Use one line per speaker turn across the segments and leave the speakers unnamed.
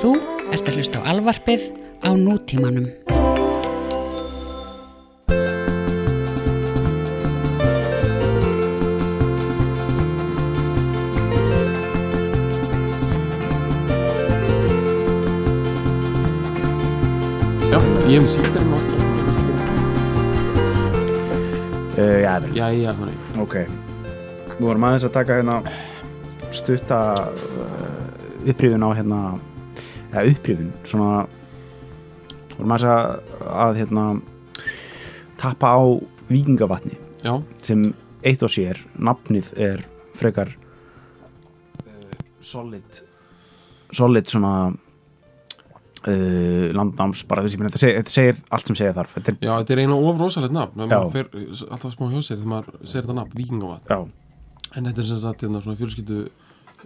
Þú ert að hlusta á alvarpið á nútímanum.
Já, ég hef sýttir um óttan
Uh, já, vel.
Jæja, hún er
ok. Við vorum aðeins að taka hérna stutta uh, upprýfun á hérna, eða upprýfun, svona, vorum aðeins að, að hérna, tappa á vikingavatni
Já,
sem eitt og sér, nafnið er frekar uh, solid, solid svona uh, landnáms, bara þessi, þetta segir, þetta segir allt sem segja þarf, þetta er
já, þetta er eiginlega of rosalegt nafn þegar
Já.
maður fer eh, alltaf smá hjá sér þegar maður segir þetta nafn, vikingavatn
Já,
en þetta er sem sagt hérna, svona fjölskyldu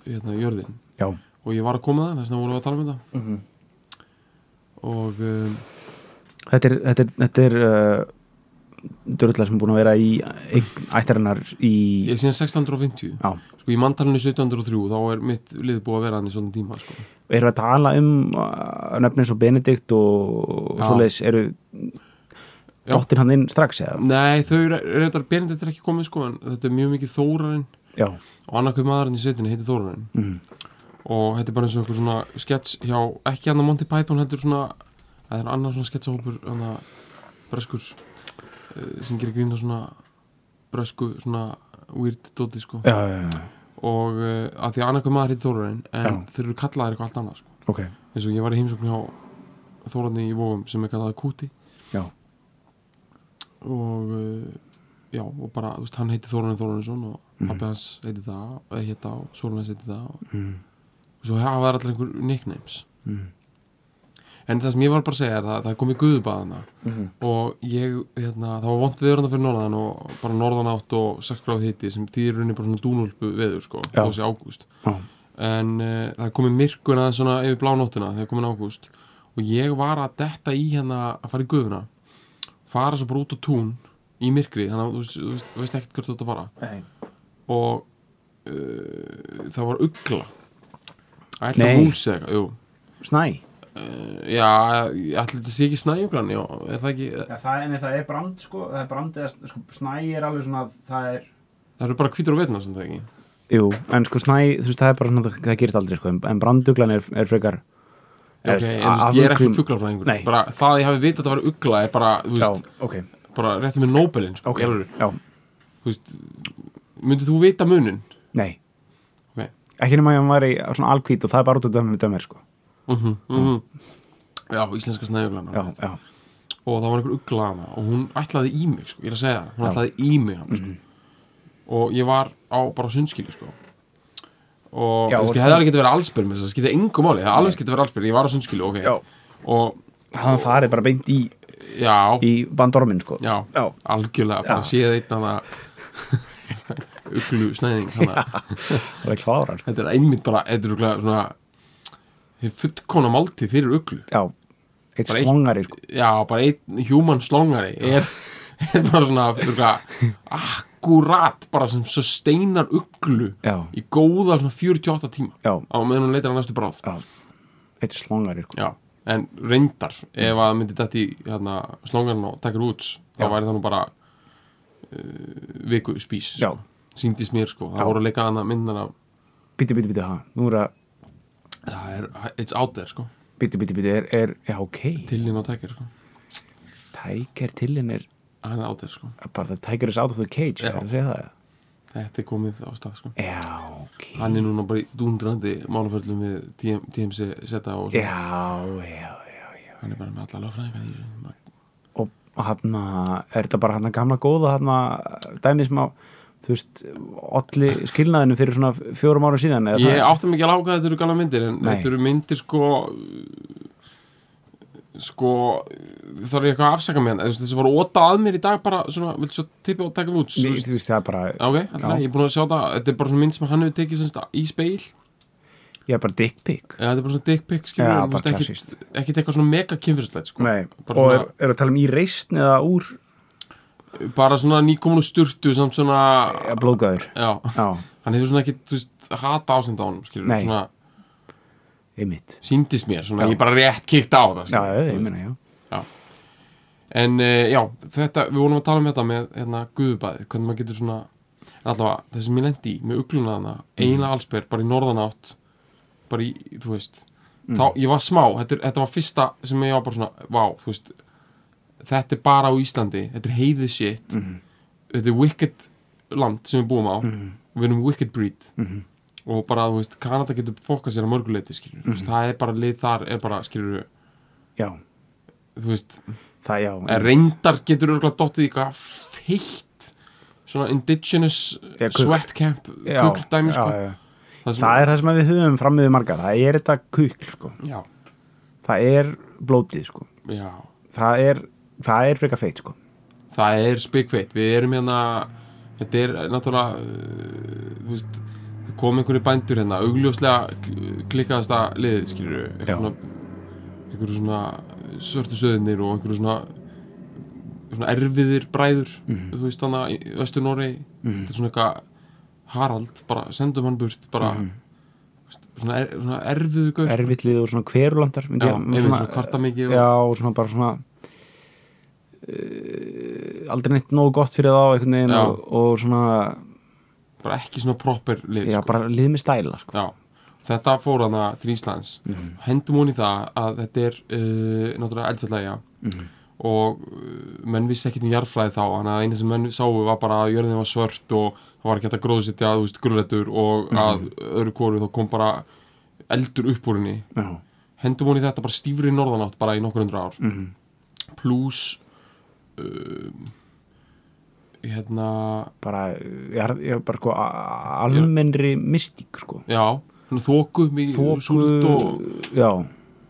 hérna, jörðin
já,
og ég var að koma það, þess vegna vorum við að tala um þetta
Mhm.
og um,
Þetta er, þetta er, þetta er uh, dörðlega sem er búin að vera í eign ættarinnar í
ég er síðan 1650
Já,
sko, í manntalinu 1703, þá er mitt lið búið að vera hann í svona tíma sko.
erum við að tala um uh, nöfnin svo Benedikt og
Já.
svoleiðis eru
Já. Mm.
dottin hann inn strax eða?
Nei, þau eru reyndar berindir þetta er ekki komið sko, en þetta er mjög mikið þórarinn
Já,
og annarkveð maðurinn í sveitinni heitir þórarinn
Mhm.
og þetta er bara eins og einhver svona skets hjá, ekki hann að Monty Python heldur svona, það er annar svona sketsahópur hann að breskur eh, sem gerir grína svona bresku svona weird doti sko
já, já, já,
og uh, að því að annarkveð maður heitir Þórarinn en
Já.
þeir eru kallaðir eitthvað allt annað sko
ok,
eins og ég var í heimsókn hjá Þórarni í Vógum sem er kallaði Kúti
já,
og uh, já, og bara, þú veist, hann heitir Þórarinn Þórarinsson og
Mhm.
pappi hans heitir það eða hétta og Sólun hans heitir það og,
mm,
og svo hafa þær allir einhver nicknames
mm,
en það sem ég var bara að segja er að það er komið guðbaðana
mm,
og ég, hérna, það var vont við hérna fyrir norðan og bara norðan átt og 6 gráð hitti sem þýðir runni bara svona dúnulpu veður sko,
Já.
þessi ágúst
já,
en uh, það er komið myrkuna svona yfir blánóttina þegar komin ágúst og ég var að detta í hérna að fara í guðuna fara svo bara út á tún í myrkri þannig að þú veist, þú veist, þú veist ekkert hvert þú ert að fara
Nei.
og uh, það var ugla ætla
Nei.
hús eða eitthvað, jú
snæ
uh, já, ætla þetta sé ekki snæjuglan já, er það ekki,
Já, það, en það er brand sko, það er brand eða sko, snæ er alveg svona, það er
það eru bara hvítur og vetna sem það ekki
Jú, en sko snæ, þú veist, það er bara svona, það, það gerist aldrei sko, en, en branduglan er, er frekar
Ok, en, þú veist, ég er ekki fuglafræðingur
Nei.
bara það að ég hafi vitað að það var ugla er bara, þú
Já,
veist,
ok,
bara réttum með Nobelin sko,
ok,
Gerður,
já
þú veist, myndið þú vita munin
Nei
Ok.
Ekki nema að hann var í svona alkvít og það er bara út af dömum dömur sko
mm -hmm, mm já, íslenska snæðuglana
mhm. Já, já,
og það var einhver ugla hana og hún ætlaði í mig, sko, ég er að segja það hún
Já. Mhm.
ætlaði í mig hana, sko. og ég var á bara sundskili sko. og
Já,
já,
og
ég
sko-
hefði alveg getið verið allsbyrð með þess að það skipti engum máli, það alveg getið verið allsbyrð ég var á sundskili, ok
Já.
og
hann farið bara beint í,
já,
í bandormin sko
já,
já,
algjörlega bara
Já.
séð einn hana uglu snæðing hana
það er klárar
þetta er einmitt bara, þetta er örugglega svona hið fullkona máltið fyrir uglu
Já, eitt
Bara eitt-
slongari sko
já, bara einn human slongari er, er bara svona fyrka, akkurat bara sem sustainar uglu
Já,
í góða svona 48 tíma
já,
á meðan hún leitar að næstu bráð
já, eitt slongari sko
já, en reyndar ef að myndi þetta í hérna, slongarinn og takkir út þá
Já.
væri það nú bara uh, viku spís
Já,
síndist mér sko, það
Já.
voru að leika hana myndana
bíti, bíti, bíti, ha, nú er að
það er, it's out there sko
bíti, bíti, bíti, er, er, já, ok
tilinn og takkir sko,
Tiger til henn er,
hann er out there sko
bara það Tiger is out of the cage,
Já.
er það að segja það?
þetta er komið á stað sko
Já, ok
hann er núna bara í dúndrandi málaförlum við TM, TMC seta og svona.
Já, já, já, já
hann er bara með alla lögfræðingar í þessu Bara-
og hann er þetta bara hann gamla góða hann dæmið sem á þú veist, olli skilnaðinu fyrir svona fjórum árum síðan eða
ég
það,
átti mikið að láka þetta eru gala myndir en
Nei.
þetta eru myndir sko uh, sko þarf ég eitthvað að afsaka með hann þessu var óta að mér í dag bara svona, viltu svo tippi og taka út
Nei, þú veist, það er bara
ok, alltaf,
Já.
ég er búin að sjá það þetta er bara svona mynd sem hann hefur tekið semst, í speil
ég er bara dick pic
eða þetta er bara svona dick pic
Já,
skilur, þú
bara
veist,
klassískt.
ekkit, ekkit eitthvað svona mega kynfyrstlegt sko.
Nei,
bara
og er,
svona-
er að tala um í reisn eða úr
bara svona nýkominu sturtu samt svona
ja, blóðgæður
já
já,
hann hefur svona ekki, þú veist, hata ásend á honum skilur,
Nei.
svona
einmitt
síndist mér, svona
Já.
ég bara rétt kíkt á það
já,
skilur, þú
ég
veist.
meina, já
En uh, já, þetta, við vorum að tala um þetta með hérna, guðubæði, hvernig maður getur svona en allavega, þessi sem ég lendi í með ugluna hana, eiginlega allsber, bara í norðanátt bara í, þú veist þá, ég var smá, þetta, er, þetta var fyrsta sem ég var bara svona, vá, þú veist þetta er bara á Íslandi, þetta er heiðið shit þetta er wicked land sem við búum á, við erum wicked breed
Mhm.
og bara, þú veist, Kanada getur fokkað sér að mörguleiti, skilur, mm veist, það er bara lið þar, er bara, skilur,
já,
þú veist
það já
En reyndar getur örgulega dottið í eitthvað feitt svona indigenous
Já, kukl.
sweat camp
Já,
kukldæmi sko
já, já.
það, sem-
það er það sem við höfum frammiðu margar það er þetta kukl sko.
já,
það er blótið sko.
já,
það er, það er freka feitt sko.
það er spikfeitt við erum hérna þetta er náttúrulega uh, þú veist, það kom einhverju bændur hérna augljóslega kl- klikkaðasta liðið skilur
Já.
einhverju svona svörtu söðinir og einhverju svona, svona erfiðir bræður
Mhm.
þú veist þannig að Östur Norei þetta er svona eitthvað Harald bara sendum hann burt
Mhm.
bara
Mm.
svona, er, svona erfiður gaur
erfitlið og svona kverulandar myndi
Já,
ég-
einmitt, svona kvarta mikið og-
já, og svona bara svona uh, aldrei neitt nógu gott fyrir þá einhvern veginn
Já.
og, og svona
bara ekki svona proper lið
já,
sko.
bara lið með stæla sko.
Já, þetta fór hana til Íslands hendum hún í það að þetta er uh, náttúrulega eldfjallægja og uh, menn vissi ekkert um jarðfræði þá þannig að eina sem menn sáu var bara að jörðin var svört og það var ekki hægt að gróðsetja að þú veist grulletur og að öðru kóru þá kom bara eldur upp úr henni
já,
hendum hún í þetta bara stífri norðanátt bara í nokkur hundra ár mm
Mhm.
plus uh, hérna
bara, já, já, bara sko, a- almennri mystík sko.
já, svona þóku súld og
já,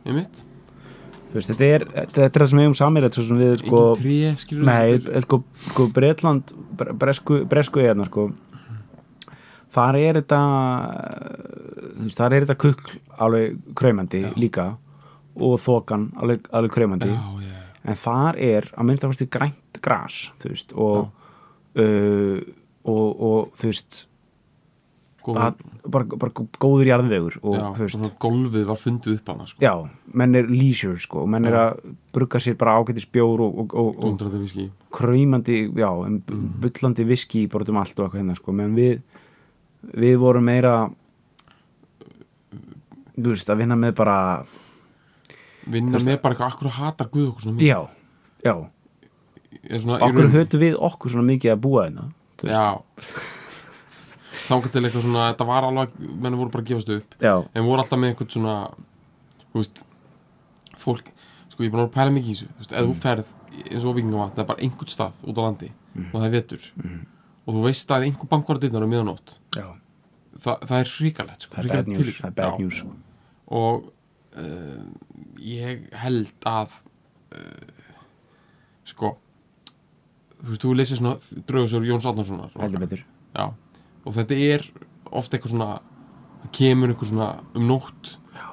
einmitt
þú veist, þetta er þetta er það sem eigum samir svo sem við
sko,
sko,
engin tré, skilur
Nei, eh, sko, sko Breitland bre- bresku, bresku eðna sko þar er þetta eh, þú veist, þar er þetta kukl alveg kraumandi líka og þokan alveg, alveg kraumandi
já, já,
en þar er að minnst að fórstu grænt gras þú veist og, uh, og, og þú veist
góð,
að, bara, bara góður jarðvegur og
já,
þú veist
svona golfið var fundið upp hana sko,
já, menn er leisure sko og menn er að brugga sér bara ágætis bjór og, og, og, og
dundraði viski
kræmandi, já, um,
Mhm.
bullandi viski í bortum allt og eitthvað hérna sko, meðan við við vorum meira þú veist, að vinna með bara
vinna með bara eitthvað, akkur hatar Guð okkur svona
já, já,
mikið er svona, í
okkur
raun-
hötu við okkur svona mikið að búa hérna þú veist,
já þangar til eitthvað svona, þetta var alveg menn voru bara að gefast upp
já,
en voru alltaf með eitthvað svona þú veist, fólk sko ég er búin að vera að pæla mikið í þessu þú veist, eða
Mm.
þú ferð eins og vikingavatn, það er bara einhvern stað út á landi
Mm.
og það er vetur og þú veist að einhver bankvartirnar er miðanótt
já,
Þa, það er hrikalegt sko,
það er
hrikalegt
bad news
tilhugsun.
það er bad
Já.
news, sko.
og uh, ég held að uh, sko þú veist, þú lesið svona draugasögur Jóns Átnarssonar
heldur betur
Já, og þetta er ofta eitthvað svona það kemur eitthvað svona um nótt Já.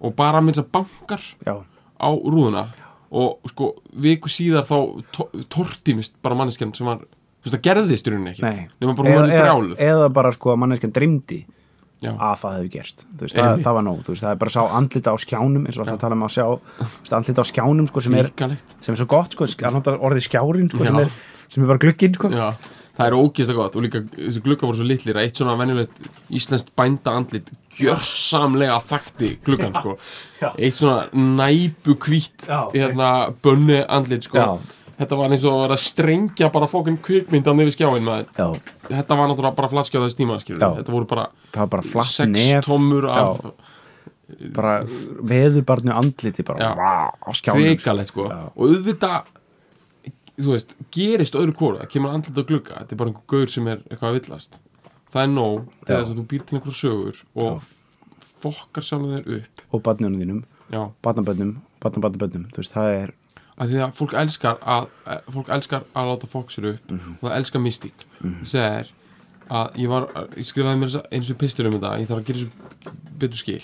og bara minnst að bankar
já,
á rúðuna og sko viku síðar þá to tortímist bara manneskjan sem var þú veist, það gerðist í rauninni
nei
ekkert nema bara manni brjáluð
eða, eða bara sko að manneskjan dreymdi
Já.
að það hefði gerst þú veist, það,
Einmitt.
það var nóg, þú veist, það er bara að sá andlita á skjánum eins og alltaf tala um að sjá þú veist, andlita á skjánum sko sem er
Hrikalegt.
sem er svo gott sko, að nota orðið skjárin sko, sem,
Já.
er, sem er bara glugginn sko.
Já, það er ógeðslega gott og líka þessi glugga voru svo litlir að eitt svona venjulegt íslenskt bænda andlit gjörsamlega þakti gluggan sko.
Já.
eitt svona næpu kvítt
Já,
hérna bönni andlit sko.
Já.
þetta var eins og að vera að strengja bara fókinn kvikmyndan yfir skjáin maður.
Já,
þetta var náttúrulega bara flatskjáð þess tíma skilur
Já.
við. þetta voru bara
það var bara flatt
sex
nef
tommur af
Já. bara veðurbarnu andliti bara
Já.
vá, á skjánum sko.
hrikalegt sko.
Já.
og auðvitað þú veist, gerist öðru kóru það kemur andlit á glugga, þetta er bara einhver gaur sem er eitthvað að villast það er nóg til
Já.
þess að þú býr til einhverju sögur og f- fokkar sjálfum þér upp
og barnunum þínum,
já,
barnabönnum barnabarnabönnum, þú veist, það er
að því að fólk elskar að, að fólk elskar að láta fokk sér upp og það elskar mystík það er að ég var ég skrifaði mér þessa- eins og pistur um þetta ég þarf að gera þessu betur skil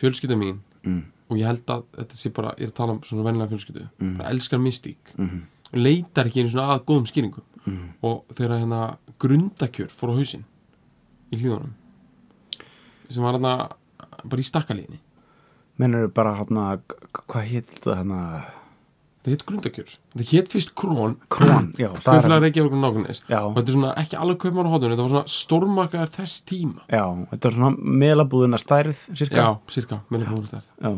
fjölskylda mín og ég held að þetta sé bara, ég er að tala um svona vennilega fjölskyldu bara elskar mystík og leitar ekki einu svona að góðum skýringum og þegar hérna grundakjör fór á hausinn í hlíðunum sem var hérna bara í stakkaliðinni
mennur bara hérna hvað hétt þetta hérna
það hétt grundakjör það hétt fyrst krón
krón, já, það er
kaupfélag Reykjavík og nákvæmnis
já,
og þetta er svona ekki alveg kaupmar á hotunni þetta var svona stórmakaðar þess tíma
já, þetta er svona meðlabúðuna stærð
já,
sirka,
cirka, minni hólstærð
já,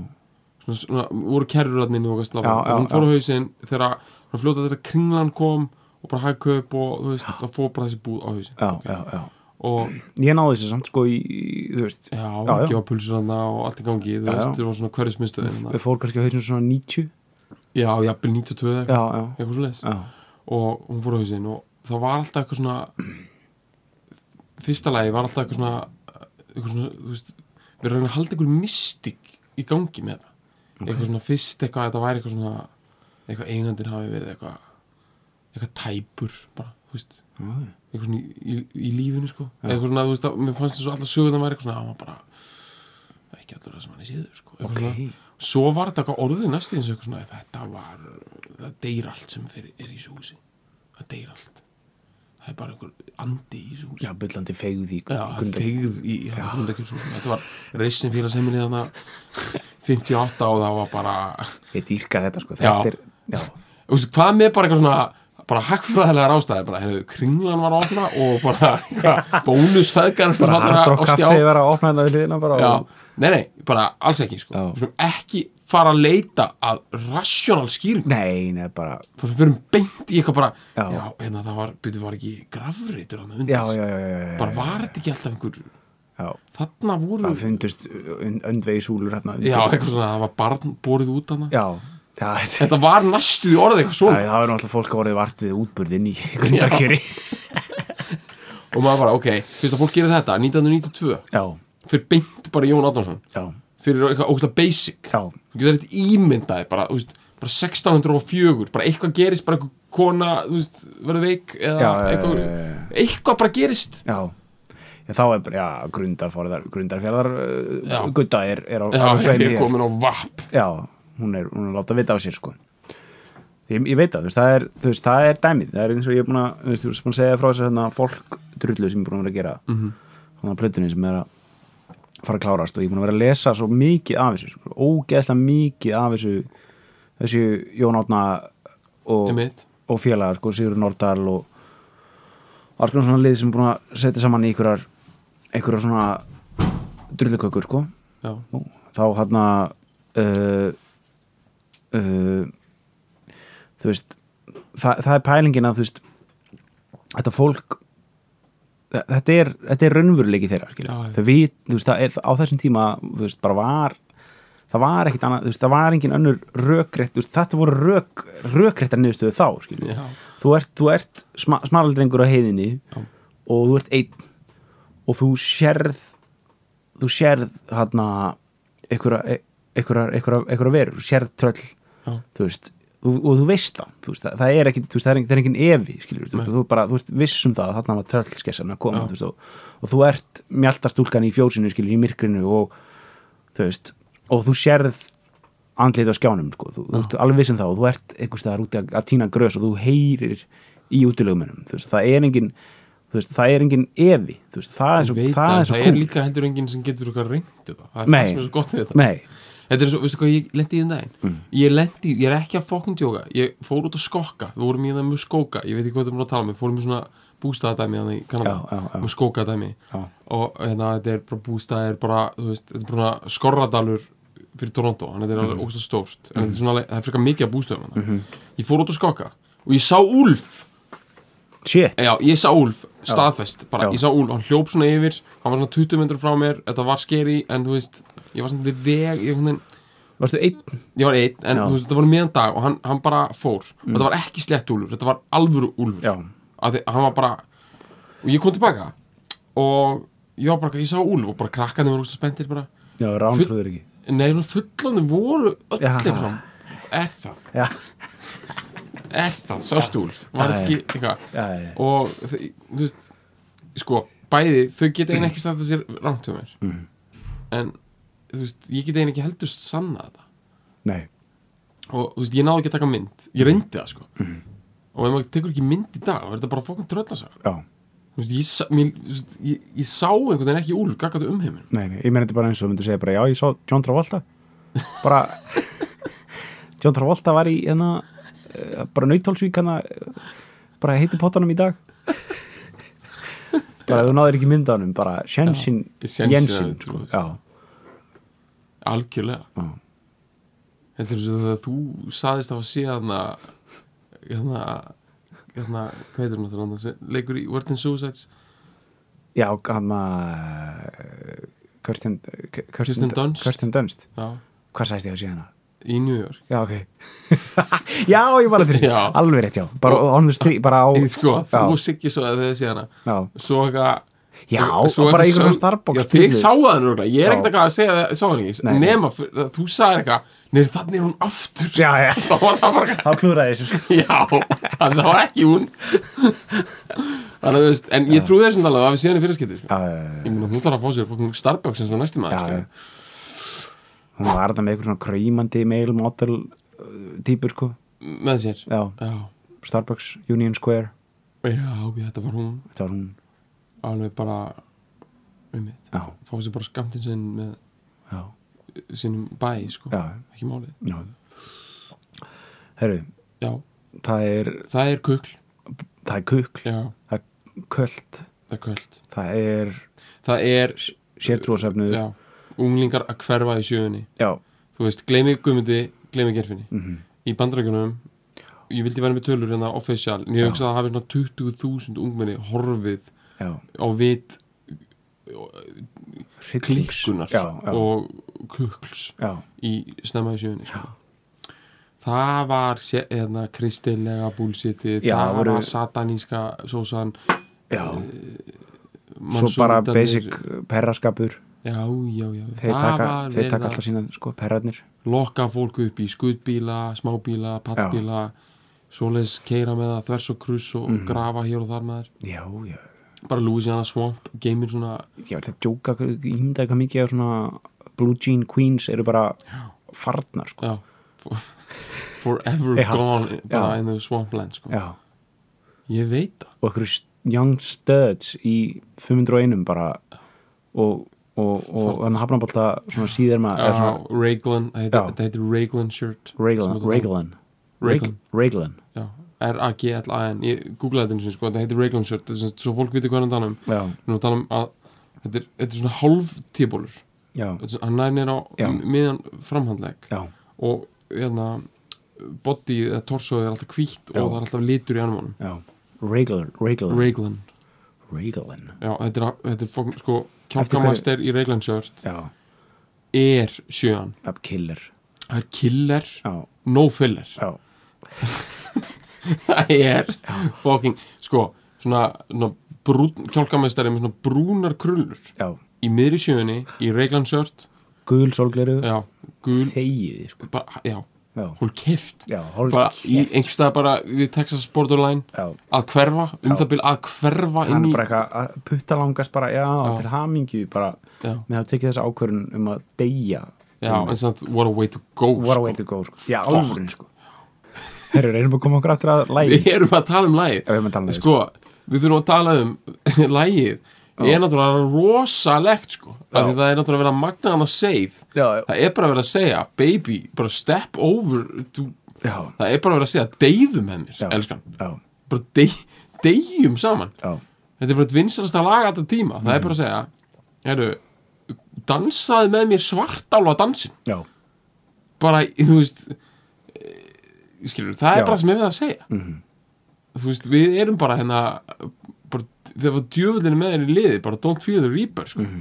svona, svona voru kerrurarninni og gæst
Já, já,
hún fór á
já.
hausinn þegar hún fljóta þegar kringlan kom og bara hagkaup og þú veist, það fór bara þessi búð á hausinn
já,
Ok.
já, já.
og
ég náði þessu samt sko í, í- þú veist,
já,
Já, já.
gefa pulsur hana og allt í gangi þú
Já,
veist,
já.
þetta var svona hverjismiðstöðin
við fór kannski á hausinu svona 90 já,
já, jafnvel 92 eða eitthvað,
já,
eitthvað svo
já,
og hún fór á hausinn og það var alltaf eitthvað svona fyrsta lagi var alltaf eitthvað svona eitthvað svona, þú veist við erum að halda einhver mystik í gangi með það eitthvað svona fyrst eitthvað þetta væri eitthvað svona eitthvað eigandinn hafi verið eitthvað eitthvað tæpur bara, þú veist
já,
eitthvað svona í, í, í lífinu sko eitthvað svona, þú veist, að, mér fannst þess að alltaf sögurnar væri eitthvað svona, að maður bara ekki allur það sem hann er síður sko eitthvað
ok
svona, svo var þetta eitthvað orðið næstu eins og eitthvað svona þetta var, það deyr allt sem fyrir, er í þessu húsi það deyr allt það er bara einhver andi í þessu húsi
já, byllandi feigð í
Já, það er
Gunda-
feigð í hundakjölshúsum þetta var reysin félagsheimilið þarna 58 og það var bara
ég dýrka þetta sko,
Já.
þetta er já,
Þú veist, hvað með bara eitthvað svona bara hagfræðilegar ástæðir, bara heyrðu, kringlan var ofna og bara bónusfæðgar
bara hardrock kaffi vera að opna þetta við liðina bara
Já,
og,
nei, nei, bara alls ekki sko.
Já.
Við skulum ekki fara að leita að rasjónal skýring
nei, nei, bara
við verum beint í eitthvað bara
Já.
já, hérna það var, byrju, var ekki grafreitur hann undir,
já, já, já, já, já,
bara var þetta ekki alltaf einhver
já.
þarna voru,
það fundust öndvegisúlur hérna undir.
já, eitthvað svona það var barn borið út hana,
já, það, það,
þetta var næstu í orðið eitthvað svona,
það var náttúrulega fólk að orðið vart við útburðin í grundarkjöri
og maður bara, ok fyrst að fólk gerir þetta, 1992
já,
fyrir beint bara í Jón Adnánsson
já,
fyrir eitthvað ógsta basic
já,
þú getur eitthvað ímyndaði bara, þú veist, bara 1604 bara eitthvað gerist, bara eitthvað kona þú veist, verður veik eða
Já, já,
eitthvað,
já, já,
eitthvað bara gerist
já. Já, þá er bara, já, grundarfjörðar, grundarfjörðar, uh,
Já.
gutta er, er á,
já,
á sveimi
ég er
hér.
komin á vapp
Já, hún er, hún er að láta vita á sér, sko. Því, ég veit það, þú veist, það er, þú veist, það er dæmið, það er eins og ég er búin að, þú veist, þú veist, búin að segja frá þess að hérna fólk drullu sem ég er búin að vera að gera, mm -hmm. þannig að plötunni sem er að fara að klárast og ég er búin að vera að lesa svo mikið af þessu, sko, ógeðslega mikið af þessu, þessu Jón Átna og,
Einmitt.
og félagar, sko, Sigur Nordal og alls konar svona lið sem er búin að setja saman í einhverjar, einhverjar svona drullukökur, sko
já,
Nú, þá hann að uh, uh, þú veist það, það er pælingin að þú veist þetta fólk þe- þetta er, þetta er raunveruleiki þeirra skilur.
Já, já.
þau við, þú veist, það er, á þessum tíma þú veist, bara var það var ekkit annað, þú veist, það var engin önnur rökrétt, þú veist, þetta voru rök rökréttar niðurstöðu þá, skilur
já,
þú ert, þú ert sma, smalaldrengur á heiðinni
Já.
og þú ert einn og þú sérð þú sérð hérna einhverja einhverja- einhverja- einhverja verur, þú sérð tröll
já,
þú veist, og, og þú veist það þú veist, það, það er ekki, þú veist, það er engin, það er engin evi skilur, þú,
Nei.
veist, þú, bara, þú ert viss um það að þarna var tröllskessan að
Já.
koma þú veist, og, og þú ert mjaltastúlkan í fjósinu skilur, í myrkrinu og þú veist, og þú sérð andlið á skjánum, sko, þú, þú ert alveg viss um það og þú ert einhvers staðar úti að, að týna grös og þú heyrir í útilegumennum þú veist, það er engin þú veist, það er engin evi, þú veist, það er
Ég
svo,
veit
það
að
er svo
það er
kúl.
líka heldur enginn sem getur okkar reyndi það það er
Nei.
það sem er svo gott við þetta
Nei,
þetta er svo, veistu hvað, ég lendi í þeim daginn ég lendi, ég er ekki að fokkn tjóka ég fór út að skokka, við vorum í það mjög skóka ég veit ekki hvað það er búin að tala um, við fórum í svona bústaðadæmi þannig í Kanada,
Já, já, já.
mjög skókadæmi
Já.
og hérna, þetta er bara bústaðir bara, þú veist, þetta er bara svona skorradalur fyrir Toronto, þannig að þetta er alveg ógst stórt en þetta er svona, alveg- það er frekar mikið að bústöðum mm ég fór út að skokka og ég sá Úlf
shit,
Já, ég sá Úlf, staðfest bara,
Já.
ég sá Úlf, hann hljóp svona yfir hann var svona 20 myndur frá mér, þetta var skeri en þú veist, ég var svona við veg ég, hvernig,
varstu einn,
ég var einn, en
Já. Mm.
þú veist, þetta var miðan dag og hann, hann bara fór, og þetta var ekki slett Úlfur þetta var alvöru Úlfur
já,
að þið, hann var bara, og ég kom tilbaka og ég var bara, ég sá Úlf og bara krakkandi var úrst að spendir bara
já, rántrúður ekki
nei, svona fullandi voru öll
Já.
eitthvað svona, er það,
já,
er það, sástu Úlf var
Já,
ekki, eitthvað
já, já, já.
og þau- þú veist sko, bæði, þau geta eiginlega ekki sagt það sér rangt hjá mér en þú veist, ég geta eiginlega ekki heldur sanna þetta
nei
og þú veist, ég náði ekki að taka mynd ég reyndi það sko og ef maður tekur ekki mynd í dag, þá er þetta bara fokkun tröllasaga
Já,
þú veist, ég, sa- mér, þú veist, ég, ég sá einhvern veginn ekki úlf gaggatu um heiminn
nei, nei, ég meina þetta bara eins og myndu segja bara já, ég sá John Travolta bara John Travolta var í hérna, eh, bara nautálsvík hana, eh, bara heitir pottanum í dag bara ef þú náður ekki myndanum bara Jensin
Já, Jensen,
Jensin
já,
sko.
þú-
já,
algjörlega
já,
Þetta er eins og þegar þú saðist af að sé hana hérna hérna, hvað heitir hún náttúrulega sem leikur í World in Suicides
já hann að Kirsten,
Kirsten Dunst.
Kirsten Dunst
já,
hvað sæst ég að sé hana?
í New York
Já, ok Já, ég var að fyrir,
Já.
alveg rétt, já bara,
Og-
on the street, bara á
Í, sko,
já,
þú siggi svo að þið sé hana
já,
svo eitthvað
já
svo
og bara
eitthvað
ykkur
sög-
svona Starbucks
Já, þið
stílu.
sáðu það núna, ég er
Já.
ekkert eitthvað að segja það, sáðu það
Nei,
ekki
nei.
nema, fyrir- þú sagðir eitthvað, neður þannig er hún aftur
Já, já,
þá var það bara,
þá klúðraði þessu sko.
já það var ekki hún þannig að þú veist, en ég trúi þessum alveg að við séðan í fyrirskipti, sko
Já, já, já, já.
ég meina, hún þarf að fá sér fókum Starbucks eins og næsti maður,
Já,
sko.
já. Hún var þetta með ykkur svona kræmandi mail model uh, típur, sko
með sér
Já,
já,
Starbucks, Union Square
já, þetta var hún
Þetta var hún,
alveg bara um mitt,
já,
fá sér bara skamtinn sinn með
já,
sínum bæ, sko,
já,
ekki málið
já. Herru,
já,
það er
það er kukl,
það er kukl,
já,
köld
það er kvöld
það er
það er,
sértrúasöfnuð
já, unglingar að hverfa í sjöunni
já,
þú veist, gleymi guðmundi, gleymi gerfinni
mhm,
í bandrækjunum, ég vildi vera með tölur en það official, en ég
Já.
hugsa að það hafi svona 20.000 ungmenni horfið
já
á vit
hryllings.
klikkunar
Já, já,
og kukls
já,
í snemma í sjöunni sko. það var sé- hérna, kristilega búlsiti
Já,
það
voru-
var sataníska sósan
já.
eh,
svo bara
mansúrdarnir.
basic perraskapur
já, já, já,
þeir
það
taka,
var
þeir
verið
taka
að
alltaf sína sko, perrarnir
lokka fólku upp í skutbíla smábíla, pattbíla svoleiðis keira með það þvers og kruss og
Mhm.
grafa hér og þar með þær
já, já,
bara Louisiana Swamp, geimir svona
ég var þetta að djóka ímyndaði hvað mikið af svona blue jean queens eru bara farnar sko.
já, for- forever
Já.
gone bara
Já.
in the swampland sko.
já,
ég veit það
og ykkur young studs í 501 bara og, og, og hann hafnabólta svona síðar maður eða
Já,
svona
Raglan, það heitir-
Já.
þetta heitir Raglan shirt
Raglan
sem þú-
Raglan
Raglan,
Raglan
já, R-A-G-L-A-N ég googlaði þetta eins og sko, þetta heitir Raglan shirt þess að svo fólk viti hvað hann tala um
já,
Við erum að tala um að þetta er, þetta er svona hálf tíbólur
já,
hann nær nýr á
Já.
miðan framhandleg
já,
og hérna body eða torsoði er alltaf hvítt
Já.
og það er alltaf litur í anumónum
já Raglan Raglan
Raglan,
Raglan
já, þetta er, þetta er fólk, sko,
Eftir hverju-
kjálkamaster í Raglan shirt
já,
er sjöan
up killer
það er killer,
já,
no filler
já,
það er fucking, sko, svona, svona brún, kjálkameistari með svona brúnar krullur
já
í miðri sjöunni, í reglansjört
gul solgleru
já, gul
þegið sko.
bara, já,
já,
hún keft
já, hálf
bara í einhverstað bara við Texas borderline
já,
að hverfa, um
Já.
það byrja að hverfa
hann
inn
er
í,
bara eitthvað að putta langast bara, já,
Já.
til hamingju bara,
já,
með að tekið þessa ákvörun um að deyja
já, en samt what a way to go
Um, what a way to go, sko, já, alvörin sko herru, reynum að koma okkur aftur að lægi,
við erum að tala um
ef
lagið
við erum að tala um
sko, við þurfum að tala um lagið, er náttúrulega rosalegt sko, af því það er náttúrulega verið að magna hann að segð
já,
það er bara verið að segja baby, bara step over to,
já,
það er bara verið að segja deyðum hennir,
Já.
elskan
já,
bara dey, deyjum saman
já,
þetta er bara eitt vinsalasta lag alltaf tíma það er
Mhm.
bara að segja, heyrðu dansaði með mér svartála dansin
já,
bara, þú veist eh, skilur, það er
Já.
bara sem ég verið að segja
Mhm.
þú veist, við erum bara hérna bara, þegar var djöfullinu með þér í liði bara don't fear the reaper, sko
Mhm.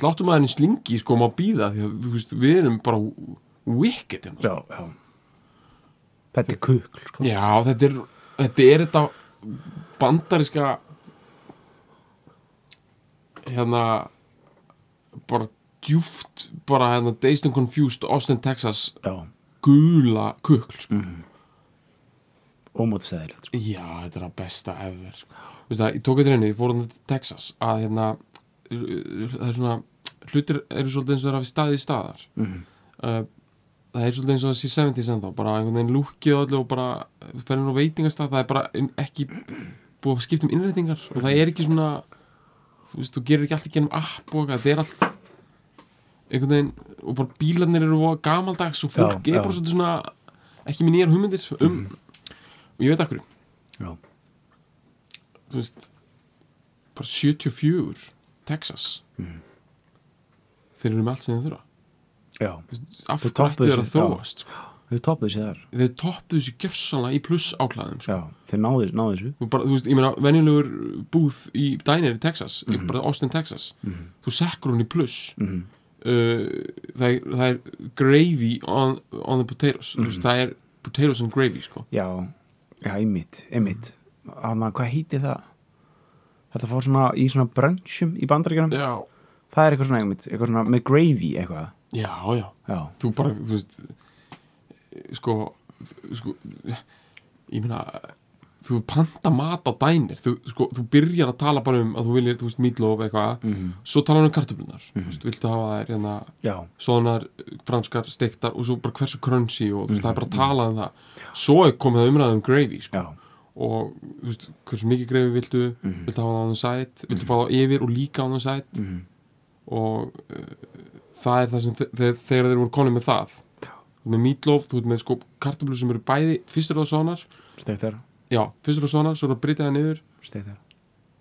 sláttum að henni slingi, sko, má býða því að, þú veist, við erum bara wicked hérna, sko.
já, já þetta er kukl, sko
Já, þetta er þetta er þetta bandariska hérna bara djúft bara hérna Dazed and Confused Austin, Texas
já,
gula kukl sko.
ómótsæðilegt, sko
Já, þetta er að besta ever sko. Veistu það, ég tók eitthvað reynu, ég fór hann til Texas að hérna það er svona, hlutir eru svolítið eins og það er að við staðið í staðar
Mhm.
uh, það er svolítið eins og það sé 70s en þá bara einhvern veginn lúkið á öllu og bara fennir á veitingastað, það er bara inn- ekki búið að skipta um innrætingar og það er ekki svona þú veist, þú gerir ekki allt í gennum app og eitthvað, þetta er allt einhvern veginn og bara bílarnir eru voða gamaldags og fólk
Já, Mhm.
er bara
já.
svolítið svona ekki með nýjar hugmyndir um og ég veit akkur,
já,
þú veist bara 74 Texas
Mhm.
þeir eru með allt sem þeir þurfa
já,
Þú veist, af
Þau
hverju ætti
toppuðu
þeir að
sig, já.
þróast sko.
þau toppuðu sér þar
þeir toppuðu sér gjörsanlega í pluss áklæðum sko.
já, þeir náðu, náðu þessu
þú, bara, þú veist, ég meina, venjulegur búð í dænir í Texas, mm bara Austin, Texas þú sekkur hún í pluss
Mhm.
uh, það, er, það er gravy on, on the potatoes mm
Mhm.
veist, það er potatoes and gravy sko.
já, já, einmitt, einmitt Þannig hvað heiti það þetta fór svona í svona brunchum í bandaríkjunum,
já,
það er eitthvað svona einmitt eitthvað svona með gravy eitthvað
já, já
já,
þú bara, þú veist sko, sko ég meina þú panta mat á dænir þú, sko, þú byrjar að tala bara um að þú viljir, þú veist, meatloaf eitthvað svo tala hann um kartöflunar, þú veist, viltu hafa þær hérna,
já,
svonar franskar stektar og svo bara hversu crunchy og þú veist, það er bara að tala um það svo er komið að umræða um gravy, sko
já,
og, þú veist, hversu mikið gravy viltu viltu hafa það á þann sætt, viltu fá það yfir og líka á þann sætt
Mhm.
og uh, það er það sem þe þe þegar þeir voru konið með það þú ert með meatloaf, þú ert með sko kartablu sem eru bæði, fyrst eru það svonar
stektar
já, fyrst eru það svonar, svo eru það brytjaði niður
stektar,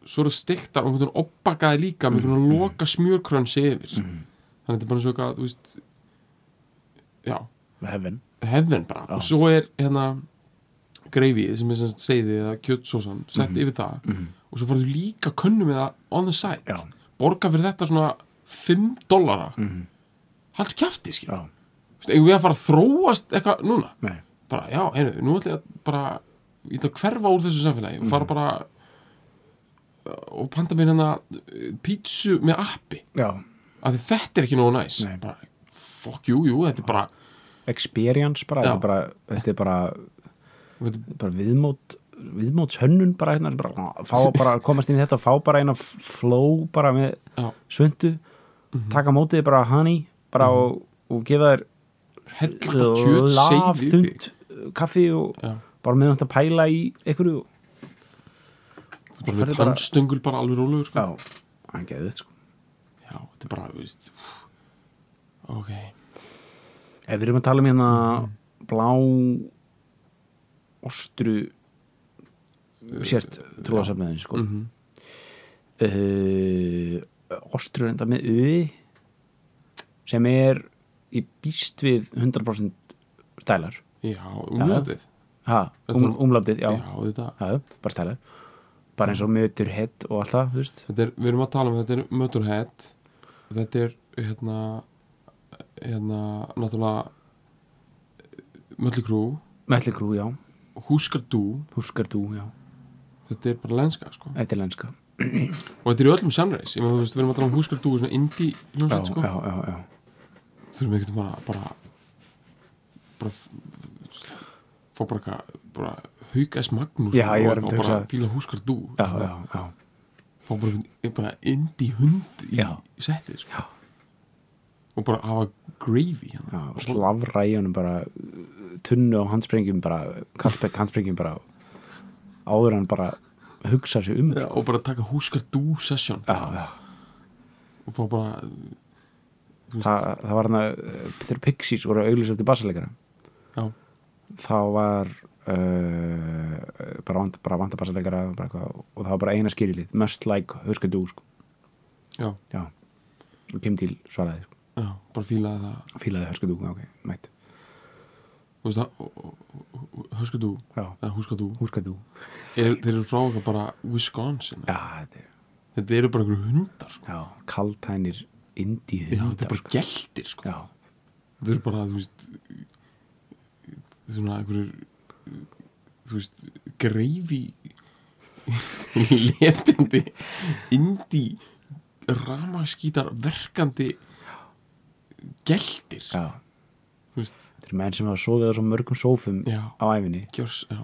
svo eru það stektar og einhvern veginn oppakaði líka með einhvern veginn loka smjörkrönsi yfir þannig að þetta er bara eins og eitthvað, þú veist já,
heaven
hefðin bara
Já.
og svo er hérna greifið sem er sem sagt seiði eða kjötsósan sett
Mhm.
yfir það og svo farðu líka könnum með það on the side
Já.
borga fyrir þetta svona 5 dollara
Mhm.
haldur kjafti skil
já,
eigum við að fara að þróast eitthvað núna
nei,
bara já, einu, nú ætlum ég að bara ég ætla að hverfa úr þessu samfélagi og
Mhm.
fara bara uh, og panta mér hérna uh, pítsu með appi
já
af því þetta er ekki nógu næs
Nei.
bara, fuck you, jú, þetta er bara
experience bara,
Já.
þetta er bara, þetta er bara,
þetta
bara viðmót viðmótshönnun bara, hérna, bara, fá, bara komast inn í þetta, fá bara eina flow bara með
Já.
svundu
Mhm.
taka mótið bara honey bara og, og gefa þér
hella bara kjöt seiði í þig.
lafþund eh, kaffi og
Já.
bara meðan þetta pæla í einhverju
Þú
Svo
bara
ferðu
með
bara-
tannstöngul bara alveg rólegur sko.
já, hann geði þetta sko
Já, þetta er bara, þú veist Ok
ef við erum að tala um hérna
Mm.
blá ostru
Eh,
sért trúasafniðin sko
mm -hmm.
uh, ostru reynda með uði sem er í býst við 100% stælar
Já, umlátið
ha,
Þetta
um,
er-
umlátið, já,
Já,
já.
þetta
bara stælar bara eins og mötur hett og allt það, þú veist
Þetta er, við erum að tala um þetta er Motorhead Þetta er, hérna Hérna, náttúrulega eh, Möllu Krú
Melli krú, já,
Húskardú
húskar þú, já
Þetta er bara lenska, sko
Þetta er lenska
Og þetta er í öllum samreis Ég meina, þú veist, við erum að tala um Húskardú Svona indie
já,
hljónsett, sko
já, já, já.
þurfum ekkert bara bara bara f- fá bara eitthvað bara hauk S. Magnús
Já, ég
og,
var einmitt
og
að
bara
hugsa-
fíla húskar dú
Já, já, já.
fá bara, einhvern- bara indi hund í
Já.
settið sko.
Já.
og bara hafa gravy
Já,
hérna.
og slavra í honum bara uh, tunnu á handsprengjum bara kallspekk handsprengjum bara áður en hann bara hugsa sér um
Já,
sko.
og bara taka húskar dú session
já, já.
og fá bara þú veist,
Þa, það var hann að þegar Pixies voru auðlis eftir bassaleikara
já,
þá var uh, bara vant, bara vanta bassaleikara bara eitthvað, og það var bara eina skýrilið must like, huska þú sko.
já,
já, og Kim til svaraði sko.
já, bara fílaði það
fílaði huska þú, ok, mætt
þú veist það húskar dú
já,
eða húskar dú
huska þú
er, þeir eru frá okkar bara Wisconsin
já, þetta er,
þetta eru bara einhverju hundar sko.
já, kaltænir indi
já, þetta er bara geltir sko.
já,
þetta er bara, þú veist svona einhverjir þú veist, greifi lefjandi indi ramaskítar verkandi geltir
já
þú veist,
Þetta eru menn sem hafa sofið á svo mörgum sófum
já,
á æfinni,
gjörs já,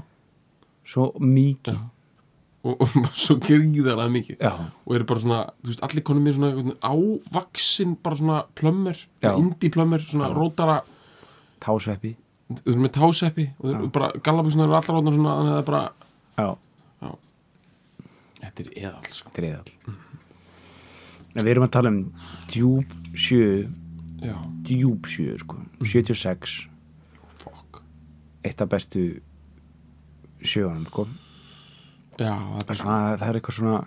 svo mikið
já. og, og bara svo gríðarlega mikið
Já,
og eru bara svona, þú veist, allir konum mér svona einhvern veginn ávaksin, bara svona plömmur,
Já.
indi plömmur, svona
Já.
rótara
tásveppi
þú erum með táseppi og þeir eru
Já.
bara gallaböksunar eru allar orðnar svona þannig að það er bara
Já,
þetta er eðall sko
þetta er eðall En við erum að tala um djúb sjö
já,
djúb sjö sko
Mm.
76,
fuck
eitt af bestu sjöðanum sko
já, það er bara svona
það, það er eitthvað svona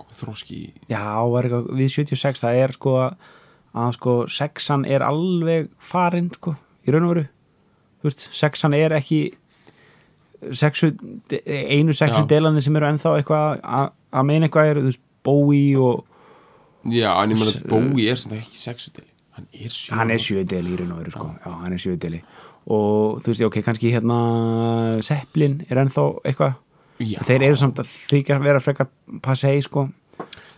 komið þróski í
já, það er eitthvað, við 76 það er sko að, að sko sexan er alveg farinn sko í raun og veru Þú veist, sexan er ekki sexu, de- einu sexu
Já.
delandi sem eru ennþá eitthvað að að meina eitthvað er þú veist, Bowie og
já, en ég meina
S-
að Bói er sem það ekki sexudeli hann er sjö
hann er sjöðdeli í raun og veru sko já, hann er sjöðdeli og þú veist, ok, kannski hérna Zeppelin er ennþá eitthvað
já,
En þeir eru samt að þykja vera frekar passei sko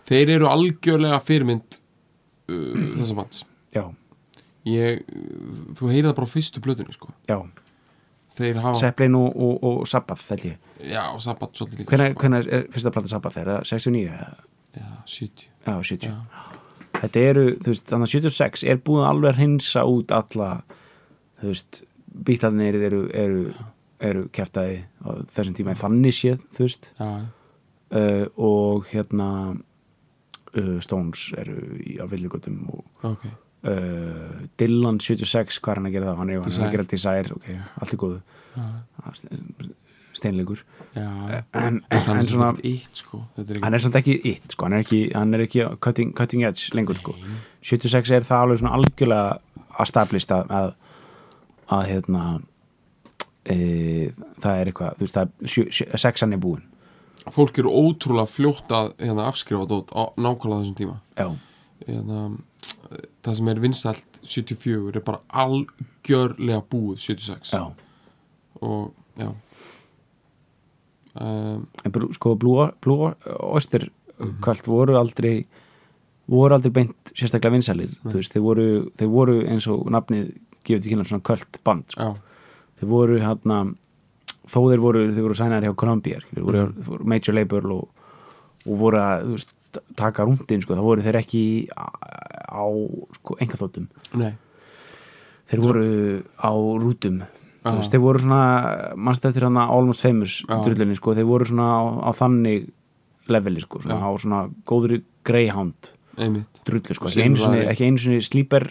þeir eru algjörlega fyrirmynd uh, þessa manns
já,
ég, uh, þú heyrið það bara á fyrstu blöðunni sko.
já,
þeir hafa,
Zeppelin og, og, og Sabbath, held ég
já, og Sabat svolítið líka
Hvenær, hvenær er fyrsta plata Sabbath? Er það 69? eða?
já, 70
Já, 70.
Já.
Þetta eru, þú veist, þannig að 76 er búin alveg að hreinsa út alla, þú veist, bítlarnir eru, eru, eru keftaði á þessum tíma en þannig séð, þú veist,
já,
uh, og hérna uh, Stones eru í, á villugutum og
ok
uh, Dylan 76, hvað er hann að gera það? Hann er, hann er
Desire.
að gera Desire, ok, allt í góðu,
já,
steinleikur.
já
En,
hann
en
er
svona,
svona eitt sko þetta er
hann
ekki
er samt ekki it sko. hann, er ekki, hann er ekki cutting, cutting edge lengur sko. 76 er það alveg svona algjörlega að stablista að, að hérna e, það er eitthvað þú veist það, er sjö- sjö- sexan er búin
fólk eru ótrúlega fljótt að hérna, afskrifa dót á nákvæmlega þessum tíma
já,
hérna, eh, það sem er vinsælt 74 er bara algjörlega búið 76
já
og já um,
en brú, sko Blue, Blue Oyster kvöld voru aldrei voru aldrei beint sérstaklega vinsælir þú veist, þeir voru, þeir voru eins og nafnið gefið til kynna svona kvöld band sko.
já,
þeir voru hérna þó þeir voru, þeir voru sænar hjá Columbia þeir
Mhm.
voru, þeir voru major label og, og voru að þú veist, taka rúndin sko, þá voru þeir ekki á, á sko, enga þóttum
nei
þeir voru á rútum þú
Já.
veist, þeir voru svona mannst eftir hann Almost Famous
Já.
drullunni sko, þeir voru svona á, á þannig leveli sko, svona,
Já.
á svona góðri Greyhound
einmitt,
drullu sko, ekki
Silfraði.
einu sinni, ekki einu sinni slíper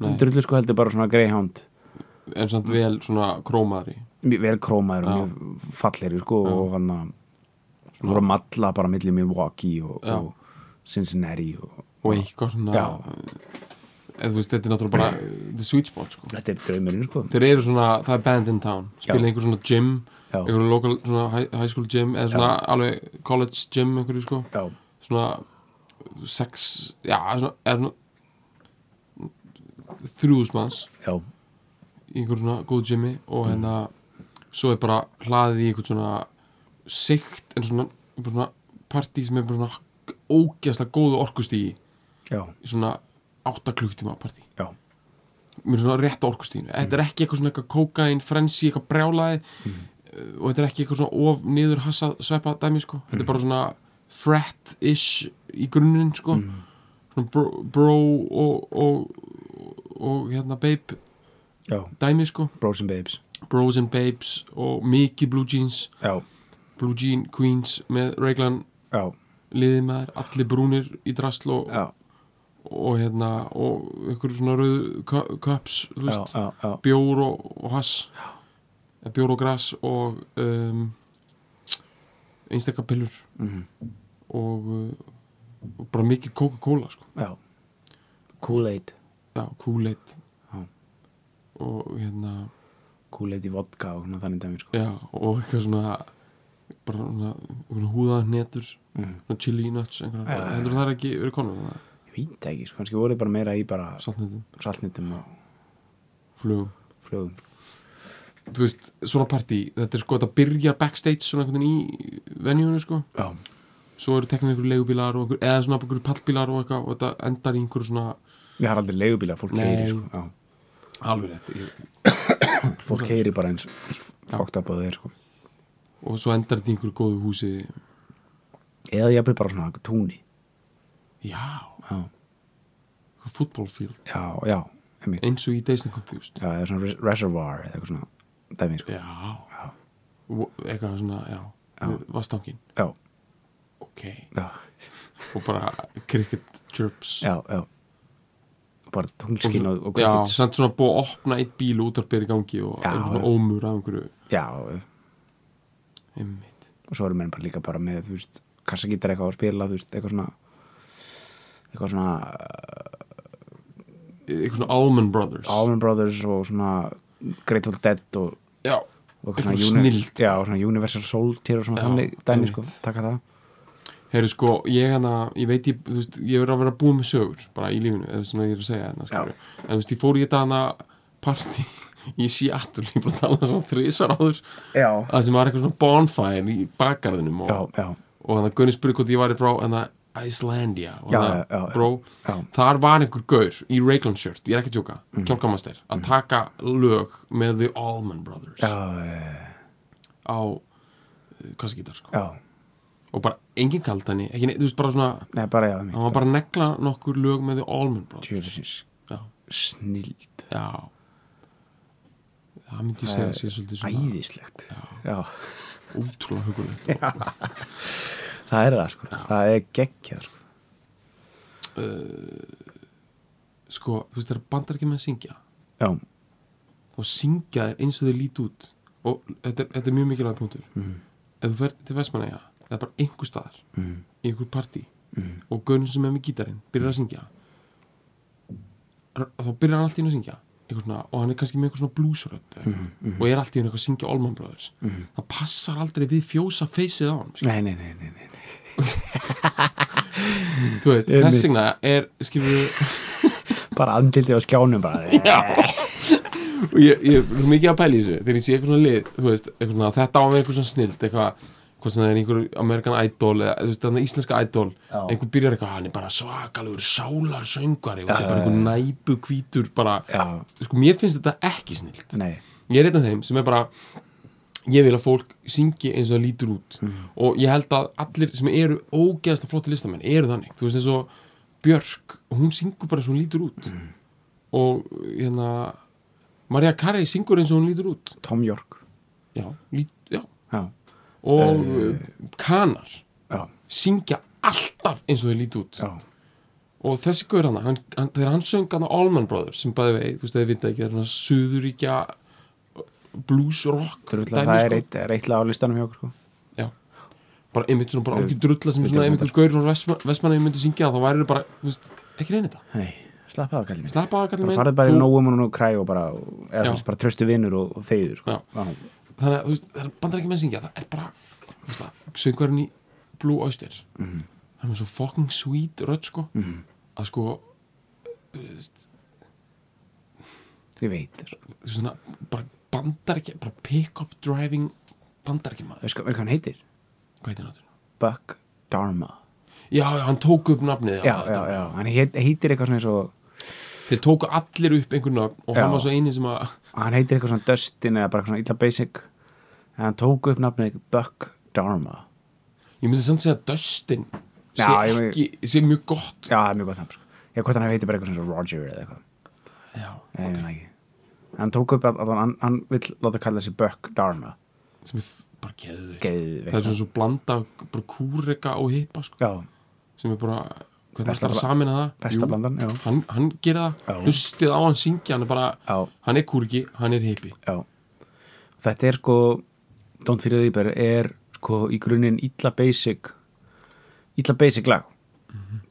Nei.
drullu sko, heldur bara svona Greyhound
en
Mm.
samt vel svona krómaðri
mjög vel krómaður og
Já.
mjög fallegir sko,
Já.
og hann að hann voru að matla bara millir Milwaukee og,
Já.
og Cincinnati og,
og eitthvað svona
Mm. Já. Mm.
eða þú veist, þetta er náttúrulega bara eh, the sweet spot sko
þetta er draumurinn sko
þeir eru svona, það er band in town spila
Já.
einhver svona gym,
Já.
einhver local svona high, high school gym eða svona alveg college gym einhverju sko
já,
svona sex, já, svona, eða svona þrjúðusmanns
já,
í einhver svona góð gymmi og hérna svo er bara hlaðið í einhvern svona sikt en svona, bara svona partí sem er bara svona ógeðslega góðu orkustígi
já,
í svona 8 klukktíma partí
já
mér er svona rétt orkustíginu þetta
Mm.
er ekki eitthvað svona eitthvað kókain, frensi, eitthvað brjálaði uh,
Mm.
og þetta er ekki eitthvað svona of niður hassa sveppa dæmi sko þetta er bara svona frat-ish í grunninn sko
Mm.
svona bro, bro og, og, og, og hérna babe
já,
dæmi sko
Bros and Babes
bros and babes og mikið blue jeans
já,
blue jean queens með reglan
já,
liðið með þær, allir brúnir í drasl og,
já,
og hérna og einhverju svona rauðu kö- cups þú
já,
veist
já, já.
bjór og, og hass Eða bjór og gras og um, einstakka pillur
Mhm.
og, uh, og bara mikið Coca-Cola sko.
já. Kool-Aid
já, Kool-Aid
Já.
og hérna
Kool-Aid í vodka og svona þannig dæmi sko
já, og eitthvað svona bara svona, svona húðaðar netur
Mhm.
svona chili nuts einhverjar.
Já, já,
heldur það er ekki verið konum
ég veit það ekki, sko, kannski voru þeir bara meira í bara
saltnetum,
saltnitum og
flugum
flugum
þú veist, svona partí, þetta er sko þetta byrjar backstage svona einhvern veginn í venjunu sko
já,
svo eru teknir einhverju leigubílar og einhver, eða svona einhverju pallbílar og eitthvað og þetta endar í einhverju svona
ég har aldrei leigubíla fólk
Nei.
keiri sko, já,
alveg rétt ég-
fólk keiri bara eins fókt upp á þeir sko
og svo endar þetta í einhverju góðu húsi
eða ég bara svona túni
já,
já,
fútbólfíld
já, já, einmitt
eins og í Days and Confused
já, eða svona res- reservoir eða eitthvað svona dæmi sko.
já, Og eitthvað svona, já, já. vastangin
já,
ok,
já,
og bara cricket chirps
já, já bara tunglskinn og, og
já,
kveikits
samt svona búið að opna eitt bíl og útarpið er í gangi og
Já,
já,
já.
ómur af einhverju
já, og
einmitt,
svo eru menn bara líka bara með þú veist, kassagítar eitthvað að spila þú veist, eitthvað svona eitthvað svona
eitthvað svona Allman Brothers
Allman Brothers og svona Grateful Dead og,
já,
og
Eitthvað
svona,
snilld.
já, og svona Universal Soldier og svona
Já,
þannig dæmi
einmitt.
sko, taka það
heyrðu sko, ég hana ég veit, ég, þú veist, ég verður að vera búið með sögur bara í lífinu, eða svona ég er að segja hana, skilurðu. en þú veist, ég fór í þetta hana partí í Seattle, ég bara tala svona þrísar áður,
já,
það sem var eitthvað svona bonfire í bakgarðinum og,
já, já,
og hann að Gunni spurði hvort ég væri frá hann að Icelandia og
Já,
hann
já, já,
bró
já.
þar var einhver gaur í Rayclan shirt, ég er ekki að tjóka, mm. kjálkamaster að taka lög með The Allman Brothers
já, eh,
á kassagítar sko.
já.
og bara engin kaldani, ekki neitt, þú veist bara svona
Nei, bara já, mitt,
hann var bara að negla nokkur lög með The Allman Brothers
tjóðsins
já,
snild,
já það myndi ég segja sér svolítið svona
æðislegt já,
ótrúlega hugulegt og,
það er það sko það er geggjað sko
sko, þú veist, það er bandar ekki með að syngja
já,
þá syngja þér eins og þeir líti út og þetta er, þetta er mjög mikilvæg punktur mm. ef þú verð til Vestmanæja eða bara einhver staðar mm. í einhver partí mm. og gaurin sem er með gítarinn byrjar að syngja r- þá byrjar hann allt í einu að syngja einhver svona, og hann er kannski með einhver svona blúsrödd mm. og er allt í einu eitthvað að syngja Allman Brothers mm. það passar aldrei við fjósa feysið á hann skilur.
nei, nei, nei, nei, nei.
þú veist,
Einmitt.
þess vegna er skilur
bara andlitið á skjánum bara,
Já Og ég, ég er mikið að pæla í þessu Þegar ég sé eitthvað svona lið Þú veist, eitthvað svona Þetta á að vera eitthvað svona snilt Eitthvað Hvort sem það er einhver Amerikan Idol Eða þú veist, þannig íslenska Idol
Já.
Einhver byrjar eitthvað "Ah, Hann er bara svakalegur Sálarsöngvari Og það er bara einhver næpu hvítur Bara
já,
Sko, mér finnst þetta ekki snilt
nei
Ég er einn af þeim sem er bara Ég vil að fólk syngi eins og það lítur út
Mhm.
Og ég held að allir sem eru ógeðasta flotti listamenn Eru þannig Þú veist eins og Björk Hún syngur bara eins og hún lítur út
Mhm.
Og hérna Maria Carey syngur eins og hún lítur út
Tom York,
Já, lít, já.
já,
Og
Eh.
Kanar
já,
Syngja alltaf eins og þau lítur út
já
og þessi gaur hana, hann, hann, þegar hann söng hann Allman Brothers sem bæði vei, þú veist, þið vita ekki það er svona suðuríkja blues rock
Drullar,
dæmi,
það er
sko.
eitt, er eittlega á listanum hjá okkur sko.
Já. bara einmitt svona bara
Við-
algjör drulla sem
við
svona
tökum
ef einhver gaur frá Vestmanna ég myndi syngja það þá væri það bara, þú veist, ekki reyna þetta
Nei, slappa það kallið mér
slappa að kallum
Bara farið bara í nógum og nú kræ og bara eða þú veist bara tröstu vinnur og, og þeyður sko.
Já. þannig að þú veist, það er bandar ekki menn syngja það er bara, þú veist það, söngurinn í Blue Oyster mm.
Mhm.
það er með svo fucking sweet rödd sko mm. að sko, þú veist,
Ég veit sko.
þú veist, svona, bara bandar ekki, bara pick up driving bandar ekki maður,
Veist hvað veist hvað hann heitir?
hvað heitir náttúrulega
Buck Dharma
Já, já, hann tók upp nafnið
Já, já, já, hann heit, heitir eitthvað svona eins og
Þeir tóku allir upp einhvern nafn og hann
Já.
var svo eini sem að
hann heitir eitthvað svona Dustin eða bara svona illa basic en hann tók upp nafnið Buck Dharma
Ég myndi samt segja að Dustin sé,
Já, ég
ekki, sé mjög gott
Já, það er mjög gott hann sko Ég hvort hann heitir bara eitthvað svona eins og Roger eða eitthvað
Já,
Nei, ég veit það ekki Hann tók upp að, að hann, hann vill láta kalla sig Buck Dharma
sem er f- bara geðu
Geðveikt.
Það er svona svo blanda af bara kúreka og hippa sko,
Já,
sem er bara hvernig
Besta
ætlar að
bla-
samina það
besta blandan, já
Hann, hann gerir
Já.
það, hlustið á hann syngja hann er bara,
Já.
hann er kúrki, hann er hippi
Já, þetta er sko Don't Fear the Reaper er sko í grunninn illa basic illa basic lag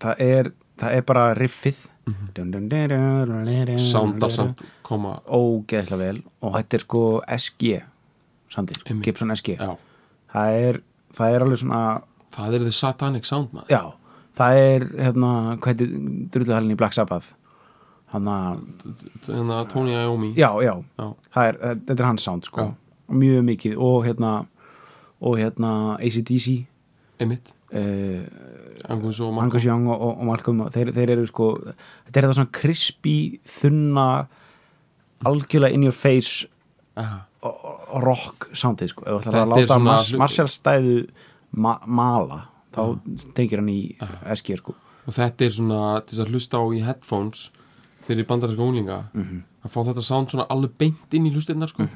það, er, það er bara riffið Mm,
Soundar samt koma
ógeðslega vel og þetta er sko SG sandið,
Einmitt.
Gibson SG
Já,
það er, það er alveg svona
það er the satanic sound maður
já, það er hérna, hvað heitir drulluhalinn í Black Sabbath hann að,
Þannig að Tony Iommi
já, já
Já.
það er, þetta er hans sound sko
Já.
mjög mikið og hérna og hérna ACDC
Einmitt,
uh,
Angus og Marco
Angus Young og, og, og Malcolm þeir, þeir eru sko, þetta er þetta svona crispy, þunna algjörlega in your face
Aha.
o- o- rock soundið sko, ef það
Þetta
að
er
láta
svona
mars,
hluti.
marsjálstæðu ma mala, þá
Mm.
tengir hann í SG sko
og þetta er svona til þess að hlusta á í headphones
Mhm.
þegar ég bandar þessu unglinga að fá þetta sound svona alveg beint inn í hlustinnar sko.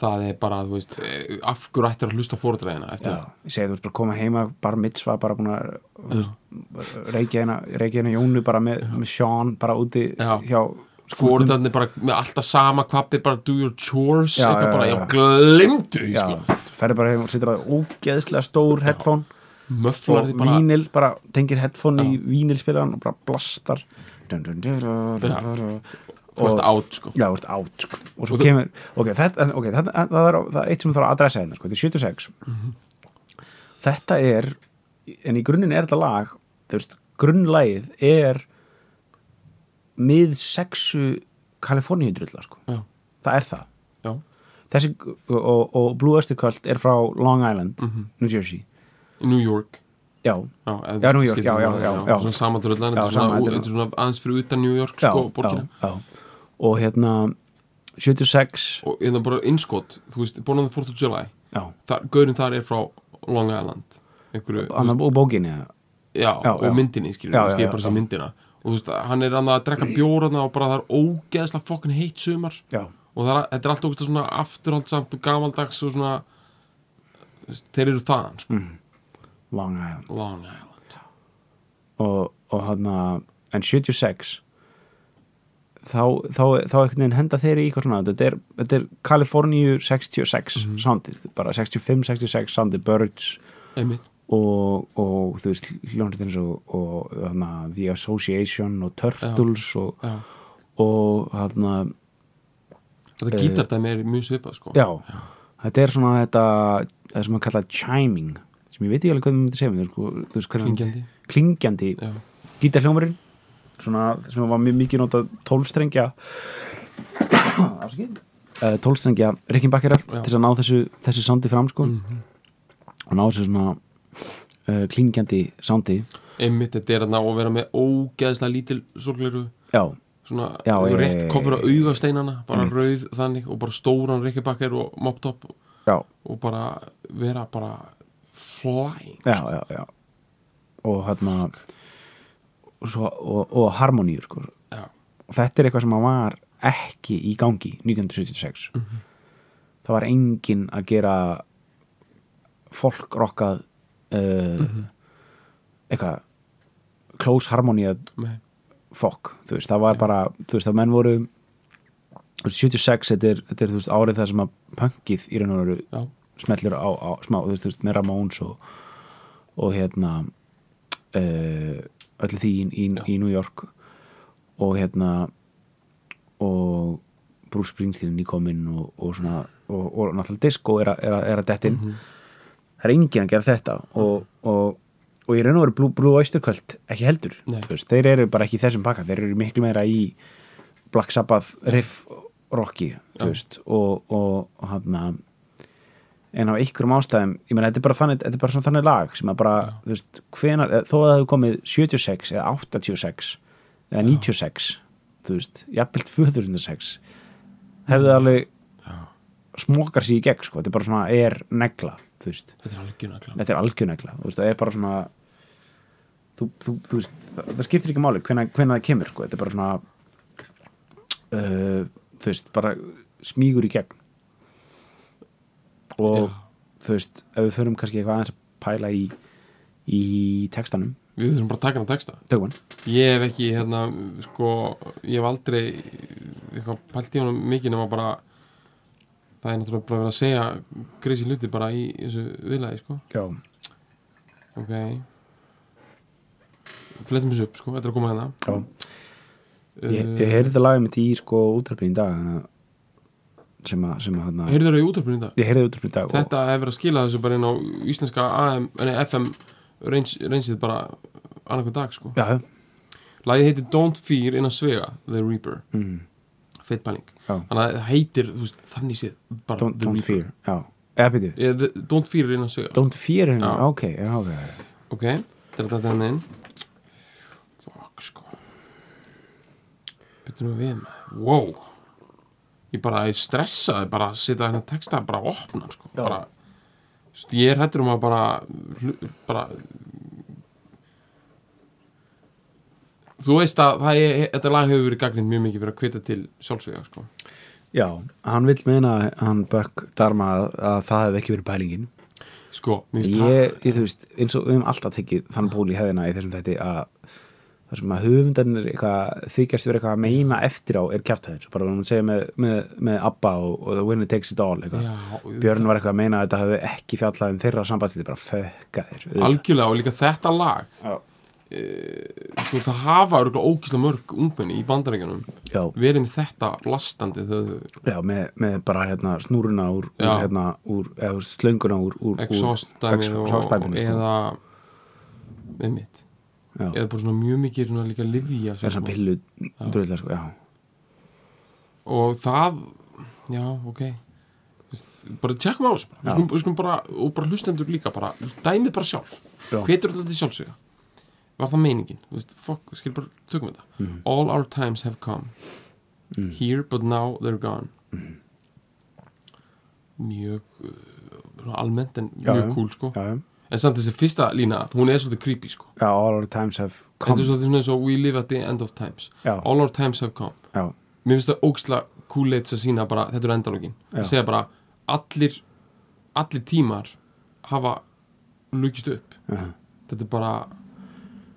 það er bara, þú veist, eh, af hverju ættir að hlusta fóreldræðina eftir það
Já, ég segi þú ert bara að koma heima bara mitzva, bara búin að þú veist, reykja hérna- reykja hérna Jónu bara með, með Sean, bara úti
Já.
hjá skúrnum
fóreldræðin er bara með alltaf sama kvappi, bara do your chores
Já,
eitthvað
já,
bara,
já,
já,
já.
glimtu því,
Já,
sko.
ferði bara heim og situr að ógeðslega stór headphone
möfflar
og
því bara
vínil, bara tengir headphone í vínilspilaran og bara blastar dun, dun, dun, dun, dun,
Já.
dun,
þú ert
og-
átt, sko
Já, þú ert át sko. og svo
Og þú-
kemur, ok, þetta, ok, þetta það, er, það er eitt sem þarf að adressa hérna, sko, þetta er 76 þetta er en í grunninn er þetta lag þú veist, grunnlagið er mið sexu Kaliforníu drullar sko.
já,
það er það
já,
Þessi, og, og Blue Oyster Cult er frá Long Island,
Mhm.
New Jersey
í New York
já,
Já, ef
Já,
þú
New York,
skiptir
já, já,
máli,
já, já.
Svona samadröðlan,
Já,
þetta er
sama,
svona,
þetta
ú-
er-
þetta er svona aðeins fyrir utan New York,
já,
sko, borgina
já, já og hérna 76
Og hérna bara innskot, þú veist, Born on the 4th of July
já,
þar, Gaurin þar er frá Long Island einhverju, þú
annar
veist,
og bókinni eða?
já,
já,
og
já.
myndinni, skilur,
Já,
þú veist,
já,
ég er bara
já,
sem
já.
myndina Og þú veist, hann er annað að drekka bjórana og bara það er ógeðslega fokkin heitt sumar
já,
Og það er, þetta er allt ógeðslega svona afturhaldsamt og gamaldags og svona þú veist, Þeir eru þaðan, sko,
Mm. Long Island
Long Island
og, og hann að en 76 þá, þá, þá einhvern veginn henda þeir í eitthvað svona, þetta er, þetta er Kaliforníu 66 soundið, bara 65-66 soundið Birds
Einmitt,
og, og þú veist hljónsið eins og, og hana, The Association og Turtles og,
já
og hann að
Þetta gítardæmi er mjög svipað, sko
Eh. já, þetta er svona þetta, það sem að kalla chiming sem ég veit ekki alveg hvað við myndum að segja sko, þú veist, hvernig-
Klingjandi.
klingjandi
Já.
gítarhljómarinn svona, sem var mjög mikið notað tólstrengja uh, tólstrengja rikkinbakkerar
Já. Mhm.
til þess að ná þessu, þessu sándi fram sko. og ná þessu svona uh, klingjandi sándi
einmitt þetta er að vera með ógeðslega lítil sorgleiru
já,
svona
Já, ég-
rétt kofur að auga steinana bara
Einmitt.
rauð þannig og bara stóran rikkibakker og moptop
já,
og bara vera bara flying
já, já, já. og hérna og, svo- og, og harmoníur sko.
já,
og þetta er eitthvað sem að var ekki í gangi 1976 það var enginn að gera fólkrokkað uh, eitthvað close harmony að
með,
fokk, þú veist, það var bara þú veist, það menn voru þú veist, 76, þetta er, þetta er þú veist, árið það sem að punkið í raun og veru
já,
smetlur á, á smá, þú veist, þú veist, með Ramones og, og hérna uh, öllu því í, í,
Já.
í New York og hérna og Bruce Springsteen er nýkominn og, og svona og, og náttúrulega disco er að, er að, er að dettin
Mhm.
það er enginn að gera þetta og, og, og ég raun og veru Blue, Blue Oyster Cult ekki heldur,
Nei.
þú veist, þeir eru bara ekki í þessum pakka, þeir eru miklu meira í Black Sabbath riff rocki, þú
Já.
veist og, og, og hérna, hann að en á einhverjum ástæðum, ég meina þetta er bara þannig, þetta er bara svona þannig lag sem að bara, þú veist, hvenar, þó að það hefur komið 76 eða 86 eða 96 þú veist, jafnvel 2006 hefðu það alveg smokar sér í gegn, sko, þetta er bara svona er negla, þú veist,
þetta er algjörna klart
þetta er algjörnegla, þú veist, það er bara svona þú, þú, þú veist, það, það skiptir ekki máli hvenna, hvenna það kemur, sko, þetta er bara svona uh, þú veist, bara smígur í gegn og
Já.
þú veist, ef við förum kannski eitthvað aðeins að pæla í í textanum,
við þurfum bara að taka hann að texta
tökum hann
ég hef ekki, hérna, sko ég hef aldrei eitthvað pælt í honum mikið nema bara það er náttúrulega bara að vera að segja greiðsi hluti bara í þessu viðlaði, sko
Já,
ok fletum þessu upp, sko, þetta er að koma hérna
já. Ég,
Uh,
ég heyrði það lagið mitt í sko útarpinn í dag þannig að sem að, sem að hana,
Heyrðu þér í útarpinu í dag?
ég heyrði útarpinn í dag og,
Þetta hefur verið að skila þessu bara inn á íslenska AM, nei, FM range- rangeið bara annarkvæð dag sko.
já,
Lagið heitir Don't Fear inn á svega The Reaper,
mm,
feit pæling
já,
Þannig að það heitir, þú veist, þannig séð bara
don't,
The
don't
Reaper
fear Ah, já, eða byrju,
yeah, the, Don't Fear inn á svega
don't fear já.
Já.
ok, já, ok
Ok, þetta er þetta henni inn Fuck sko Byttu nú við með Wow Ég bara, ég stressaði bara að setja henni texta bara að opna hann, sko
Já.
bara, þú veist, Ég er hættur um að bara hlu- bara Þú veist að það er, þetta lag hefur verið gagnið mjög mikið fyrir að hvita til sjálfsvíða sko.
Já, hann vill meina hann Bökk Darma að, að það hefði ekki verið pælingin
sko, mér finnst það
ég, ég, þú veist, eins og við höfum alltaf tekið þann pól í hefðina í þessum þætti að það sem að höfundarinn er eitthvað þykjast verið eitthvað að meina eftir á er kjáftæðin svo bara varum að segja með, með, með Abba og, og The Winner Takes It All eitthvað
já,
Björn var eitthvað að meina að þetta hefði ekki fjallað um þeirra sambandi, þetta er bara fökka þér auðvitað.
algjörlega og líka þetta lag
Já.
Eh, þú, það hafa örgulega ógísla mörg ungmenni í bandaríkjanum
Já,
verið með þetta blastandi þegar þau
já með, með bara hérna snúruna úr, úr,
Já.
hérna, úr eða, þú veist, slönguna úr, úr, úr
exhaust-dæmið
ex-
og-
exhaust-dæminu, sko.
eða með mitt
Já.
eða bara svona mjög mikið svona líka livja
er svona pillu drullar sko, já,
og það já, ok Vist, bara tjekkum á þessu bara. Við
Já.
skulum, við skulum bara, og bara hlustendur líka bara, dæmið bara sjálf
Já.
hvetur þetta til sjálfsögja var það meiningin Vist, fuck, skil bara, tökum þetta
Mhm.
all our times have come here but now they're gone
Mhm.
mjög uh, svona almennt en
Já,
mjög
já.
cool sko
já, já.
en samt þessi fyrsta lína, hún er svolítið creepy sko
já, all our times have
þetta
come
er svolítið svona eins og we live at the end of times
já,
all our times have come
já,
mér finnst það ógstla kúleits að sína bara, þetta eru endalókin
Já.
að segja bara, allir allir tímar hafa lukist upp
já.
þetta er bara,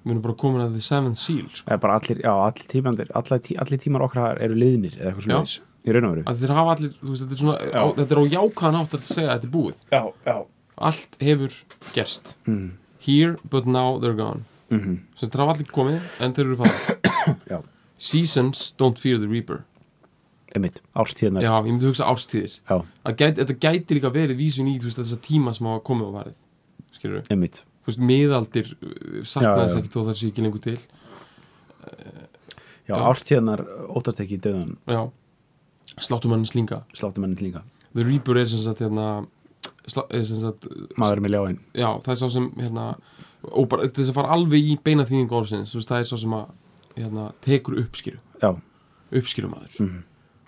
við erum bara komin að the seventh seal, sko,
eða bara allir, já, allir tímandir allir, tí, allir tímar okkar eru liðnir eða eitthvað
Já.
svona í raun og veru
að þeir hafa allir þú veist, þetta er svona,
Já.
á, þetta er á jákaðan átt að segja að þetta er búið,
já, já,
allt hefur gerst,
mm,
here but now they're gone,
mm
sem þeir hafa allir komið en þeir eru farið
Já.
seasons don't fear the reaper
einmitt, árstíðanar
já, ég myndi hugsa ástíðir
já,
Það gæti, þetta gæti líka verið vísun í þú veist, þessa tíma sem hafa komið og varðið skilur
einmitt
þú veist, miðaldir uh,
Já, já,
saknaðis
já.
ekki þó það sé ekki lengur til
já,
Já.
árstíðanar óttast ekki döðan
já, sláttum hann slinga
sláttumannin líka,
The Reaper er sem sagt hérna slá, er, sem sagt,
maður með ljáin
já, það er sá sem hérna, og bara til þess að fara alveg í beina þýðingu orðsins, þú veist, það er sá sem að hérna, tekur uppskýru,
já,
uppskýrumadur
Mhm.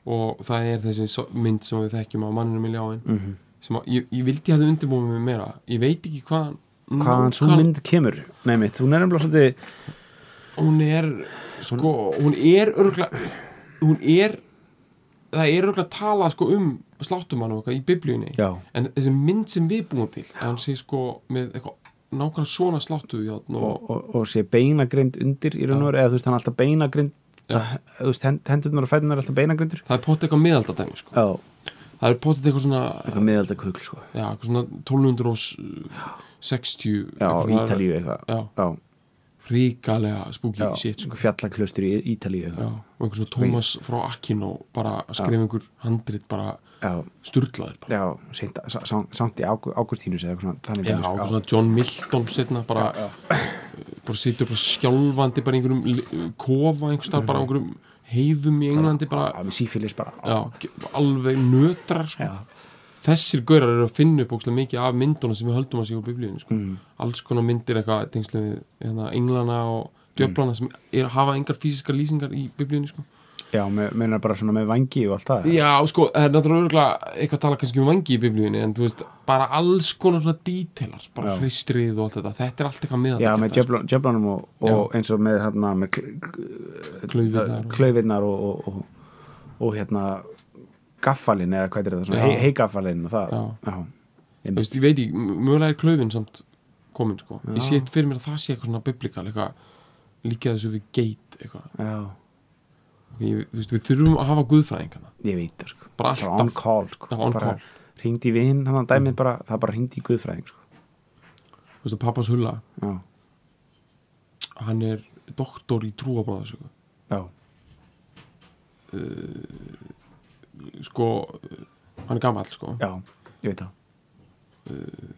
og það er þessi so- mynd sem við þekkjum á manninu miljáin
mm
sem að, ég, ég vildi að það undirbúið mig meira ég veit ekki hvaðan
hvaðan svo
nákvæm-
mynd kemur nei mitt, hún er nefnilega svolítið
hún er sko, hún er örgla hún er það er örgla talað sko um sláttumann og eitthvað í biblíunni
já,
en þessi mynd sem við búum til að hann sé sko með eitthvað nákvæmlega svona sláttu og,
og, og, og sé beinagrind undir í raun og veru, eða þú veist, hann er alltaf beinagrind
Já.
þú veist, hend- hendurnar og fætunar er alltaf beinagrindur
það er potið eitthvað miðaldadæmi sko.
já,
það er potið eitthvað svona,
eitthvað miðaldakugl sko.
já, eitthvað svona 1260
já,
eitthvað svona-
Ítalíu eitthvað
já,
já,
ríkalega spooky
já,
shit sko.
einhver fjallaklaustur í Ítalíu
já,
eitthvað
og einhver svona Thomas frá Akino bara að skrifa einhver handrit bara
já,
sturlaður bara.
já, seint, sa- sa- samt í Ágú- Ágústínus eða eitthvað svona, þannig
Já,
dæmi, sko.
og svona John Milton setna bara, eh, bara situr bara skjálfandi bara í einhverjum li- eh, kofa einhverstað, bara á einhverjum heiðum í Englandi Mhm. bara,
já, við sífélis bara
já, ge- alveg nötrar sko.
Já.
þessir gaurar eru að finna upp ókslega mikið af myndunum sem við höldum að sé úr biblíunni sko. alls konar myndir eitthvað tengslu við hérna, englana og djöflana sem er, hafa engar fysiskar lýsingar í biblíunni sko.
já, me- meinar bara svona með vangi og allt það
Já, sko, það er náttúrulega örugglega eitthvað að tala kannski um vangi í biblíunni en þú veist, bara alls konar svona dítelar bara
Já.
hristrið og allt þetta, þetta sko, er allt eitthvað miðað
já, með djöflun- djöflunum og, og eins og með, hérna, með
klöfurnar og-
klaufinnar og, og, og, og hérna gaffalinn eða hvað er þetta svona,
Já.
hei, heigafalinn og það
Já.
Já.
Þú veist, ég veit ekki, m- mögulega er klöfin samt komin, sko Ég sé fyrir mér að það sé eitthvað svona biblíkal eitthvað, líka þessu við geit eitthvað
Já.
Ok, ég, Þú veist, við þurfum að hafa guðfræðingana
ég veit það sko
Bara
Bara
alltaf.
on call, sko.
Já, on
bara
call. Mm.
hringdi í vinn, hann að dæmið bara það bara hringdi í guðfræðing sko.
Þú veist, að pappas hulla,
já,
hann er doktor í trúabráða, sko
já,
Sko, uh, hann er gamall, sko
já, ég veit það uh,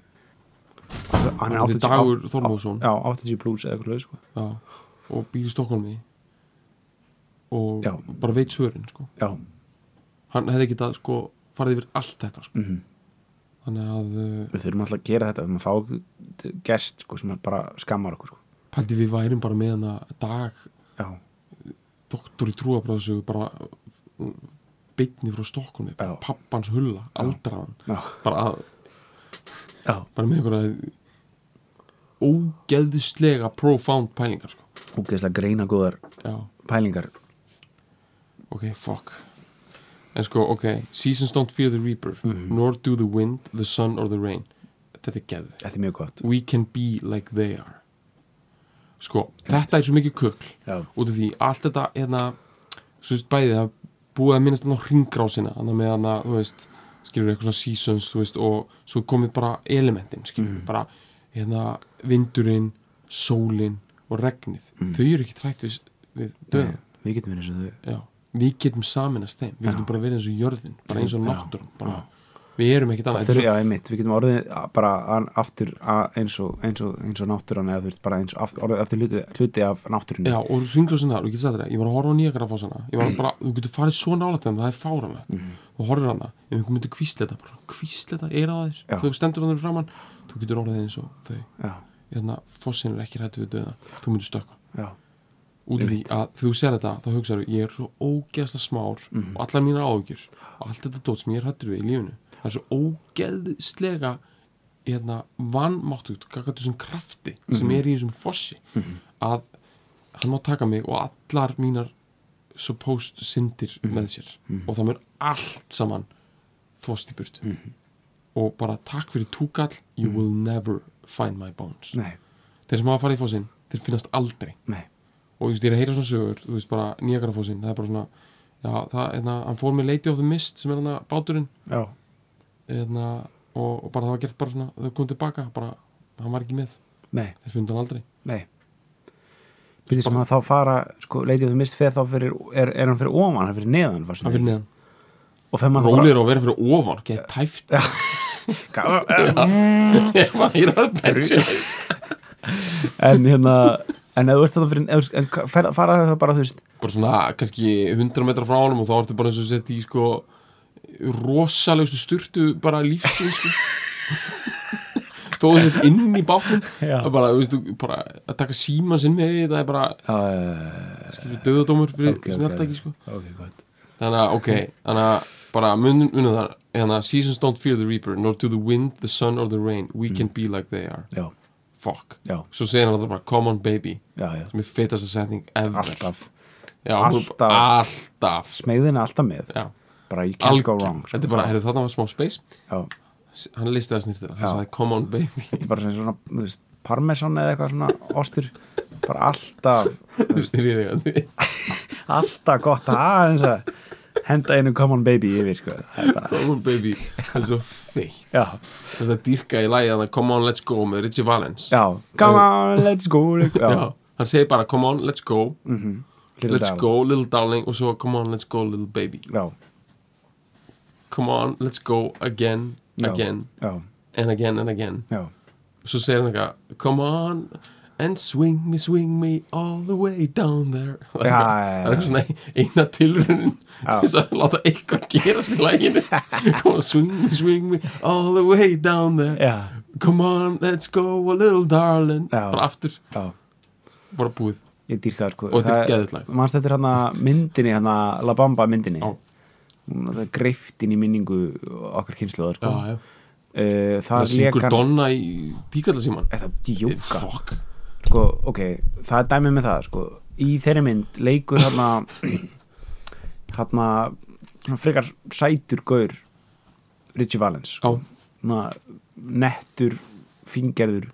hann er
Hann heitir
80
Dagur
á-
Þormóðsson.
já, 80 plus eða eitthvað leið, sko.
Já, og býr í Stokkólmi og
Já.
bara veit svörin, sko
já,
Hann hefði getað, sko, farið yfir allt þetta, sko
mm
Þannig að uh,
við þurfum alltaf að gera þetta við maður fá gest sko, sem bara skammar okkur sko.
pældi við værum bara með hana dag
já,
doktor í trúabræðsögu bara uh, beinni frá stokkunni
Já.
pappans hulla, aldraðan
já,
bara, að,
já,
bara með einhverja ógeðslega profound pælingar sko.
úgeðslega greina góðar
já,
pælingar
ok, fuck En sko, ok, seasons don't fear the reaper
Mhm.
Nor do the wind, the sun or the rain Þetta er geðu
Þetta er mjög gott
We can be like they are Sko, þetta er svo mikið kukl
Já,
út af því allt þetta hérna, svo veist bæði það er búið að minnast þannig á ringrásina þannig með þannig þú veist skilur eitthvað svona seasons þú veist og svo komið bara elementin skilur
Mhm.
bara hérna vindurinn sólinn og regnið
Mhm.
þau eru ekki trætt við, við döðan
Nei, við getum verið eins og þau
já. við getum saminast þeim við
Já.
getum bara verið eins og jörðin bara eins og
Já.
náttúrun bara, við erum ekkert annað
Þau,
Þetta er
já, einmitt, við getum orðið a- bara a- aftur a- eins og, eins og, eins og náttúran eða þú veist, bara eins og aftur, orðið aftur hluti, hluti af náttúrunni
Já, og ringlásin þar, og ég get sagt þér það, ég var að horfa á nýjakarafásana ég var bara, þú getur farið svo nálægt þeim, það er fáranlegt
Mhm.
þú horfir hana, ef einhver myndir kvísleta bara kvísleta, er það
Já.
þér þú stendur hann framann, þú getur orðið eins og þau
já,
hérna, fossin er ekki hættu við döða þú myndir stökka,
já,
út af því að þegar þú sér þetta, þá hugsaðu, ég er svo ógeðsla smár og allar mínar áhugjur og allt þetta dót sem ég er hættur við í lífinu það er svo ógeðslega hérna, vannmáttugt kakkaðu þessum krafti sem er í þessum fossi að hann má taka mig og allar mínar supposed syndir með sér og það mun allt saman þvost í burtu og bara takk fyrir túkall you will never find my bones
nei,
þeir sem hafa farið í fósinn, þeir finnast aldrei
nei
og þú veist, ég er að heyra svona sögur þú veist, bara nýjagarafósinn, það er bara svona já, það, hérna, hann fór með Lady of the Mist sem er hann báturinn
já,
hérna, og, og bara það var gert bara svona þau kom tilbaka, bara, hann var ekki með
nei,
þeir fundu hann aldrei
nei Byrðið sem að þá fara, sko, leitið þú mist feð þá fyrir, er, er hann fyrir ofan, hann fyrir neðan varstu
hann fyrir
þig?
neðan
Og fer maður þá
Rólir og verið fyrir ofan, ekki tæft
bara,
Ég var ég er að pensja
En hérna, en ef þú ert þetta fyrir, ef, þú- en ka- fer, fara það bara, þú veist
Bara svona, kannski 100 metra frá honum og þá ertu bara eins og sett í sko rosalegustu styrtu bara lífsins sko. þó þú sett inn í bátnum
Já.
að bara, veistu, bara að taka síman sinn með því, það er bara
uh,
skilur döðadómur fyrir
Ok, ok.
okay, snertæki sko.
Ok, gott
þannig að, ok, þannig að bara munum unna þar, þannig að hérna, seasons don't fear the reaper nor do the wind, the sun or the rain we can be like they are,
Já,
fuck
já,
svo segir hann alltaf bara, come on baby
já, já,
sem er fetasta setning ever
alltaf
já, hún-
alltaf.
alltaf sko.
Smegðin er alltaf með,
já,
bara you can't go
algjör.
wrong sko.
þetta er bara, heyrðu þarna var smá space
Já,
S- hann listi það snýrtir, hann
Já.
sagði come on baby
þetta er bara svona, svona þú veist, parmesan eða eitthvað svona ostur, bara alltaf
þú styrir þig að því
alltaf gott að aðeins að henda einu come on baby yfir sko. Það er bara,
come on baby, það er svo feitt
já,
þess að dýrka í lagi að það come on let's go með Richie Valens
já, come on, let's go like,
Já.
já,
hann segir bara come on let's go
mhm, little
let's
darling.
go little darling og svo come on let's go little baby
já,
come on let's go again
já,
again
já,
and again and again
já,
svo segir hann eitthvað come on and swing me swing me all the way down there það er
Já,
eitthvað-
já,
það er
já.
svona eina tilrunin
Já.
til þess að láta eitthvað gerast í læginu come on swing me swing me all the way down there
já,
come on let's go a little darling
Já.
bara aftur,
já
bara búið
ég dýrkaði sko
Og þetta er geðveikt lag.
mannst þetta er hann að myndinni hann að La Bamba myndinni
Já.
Hún- það er greift inn í minningu okkar kynsluðar sko
já.
uh,
það
það
syngur
lekan
Donna í tíkallasíman
eða djóka
fokk
sko, ok, það er dæmið með það sko. í þeirri mynd leikur hann að hann að frekar sætur gaur Richie Valens
já,
sko. Svona nettur, fingerður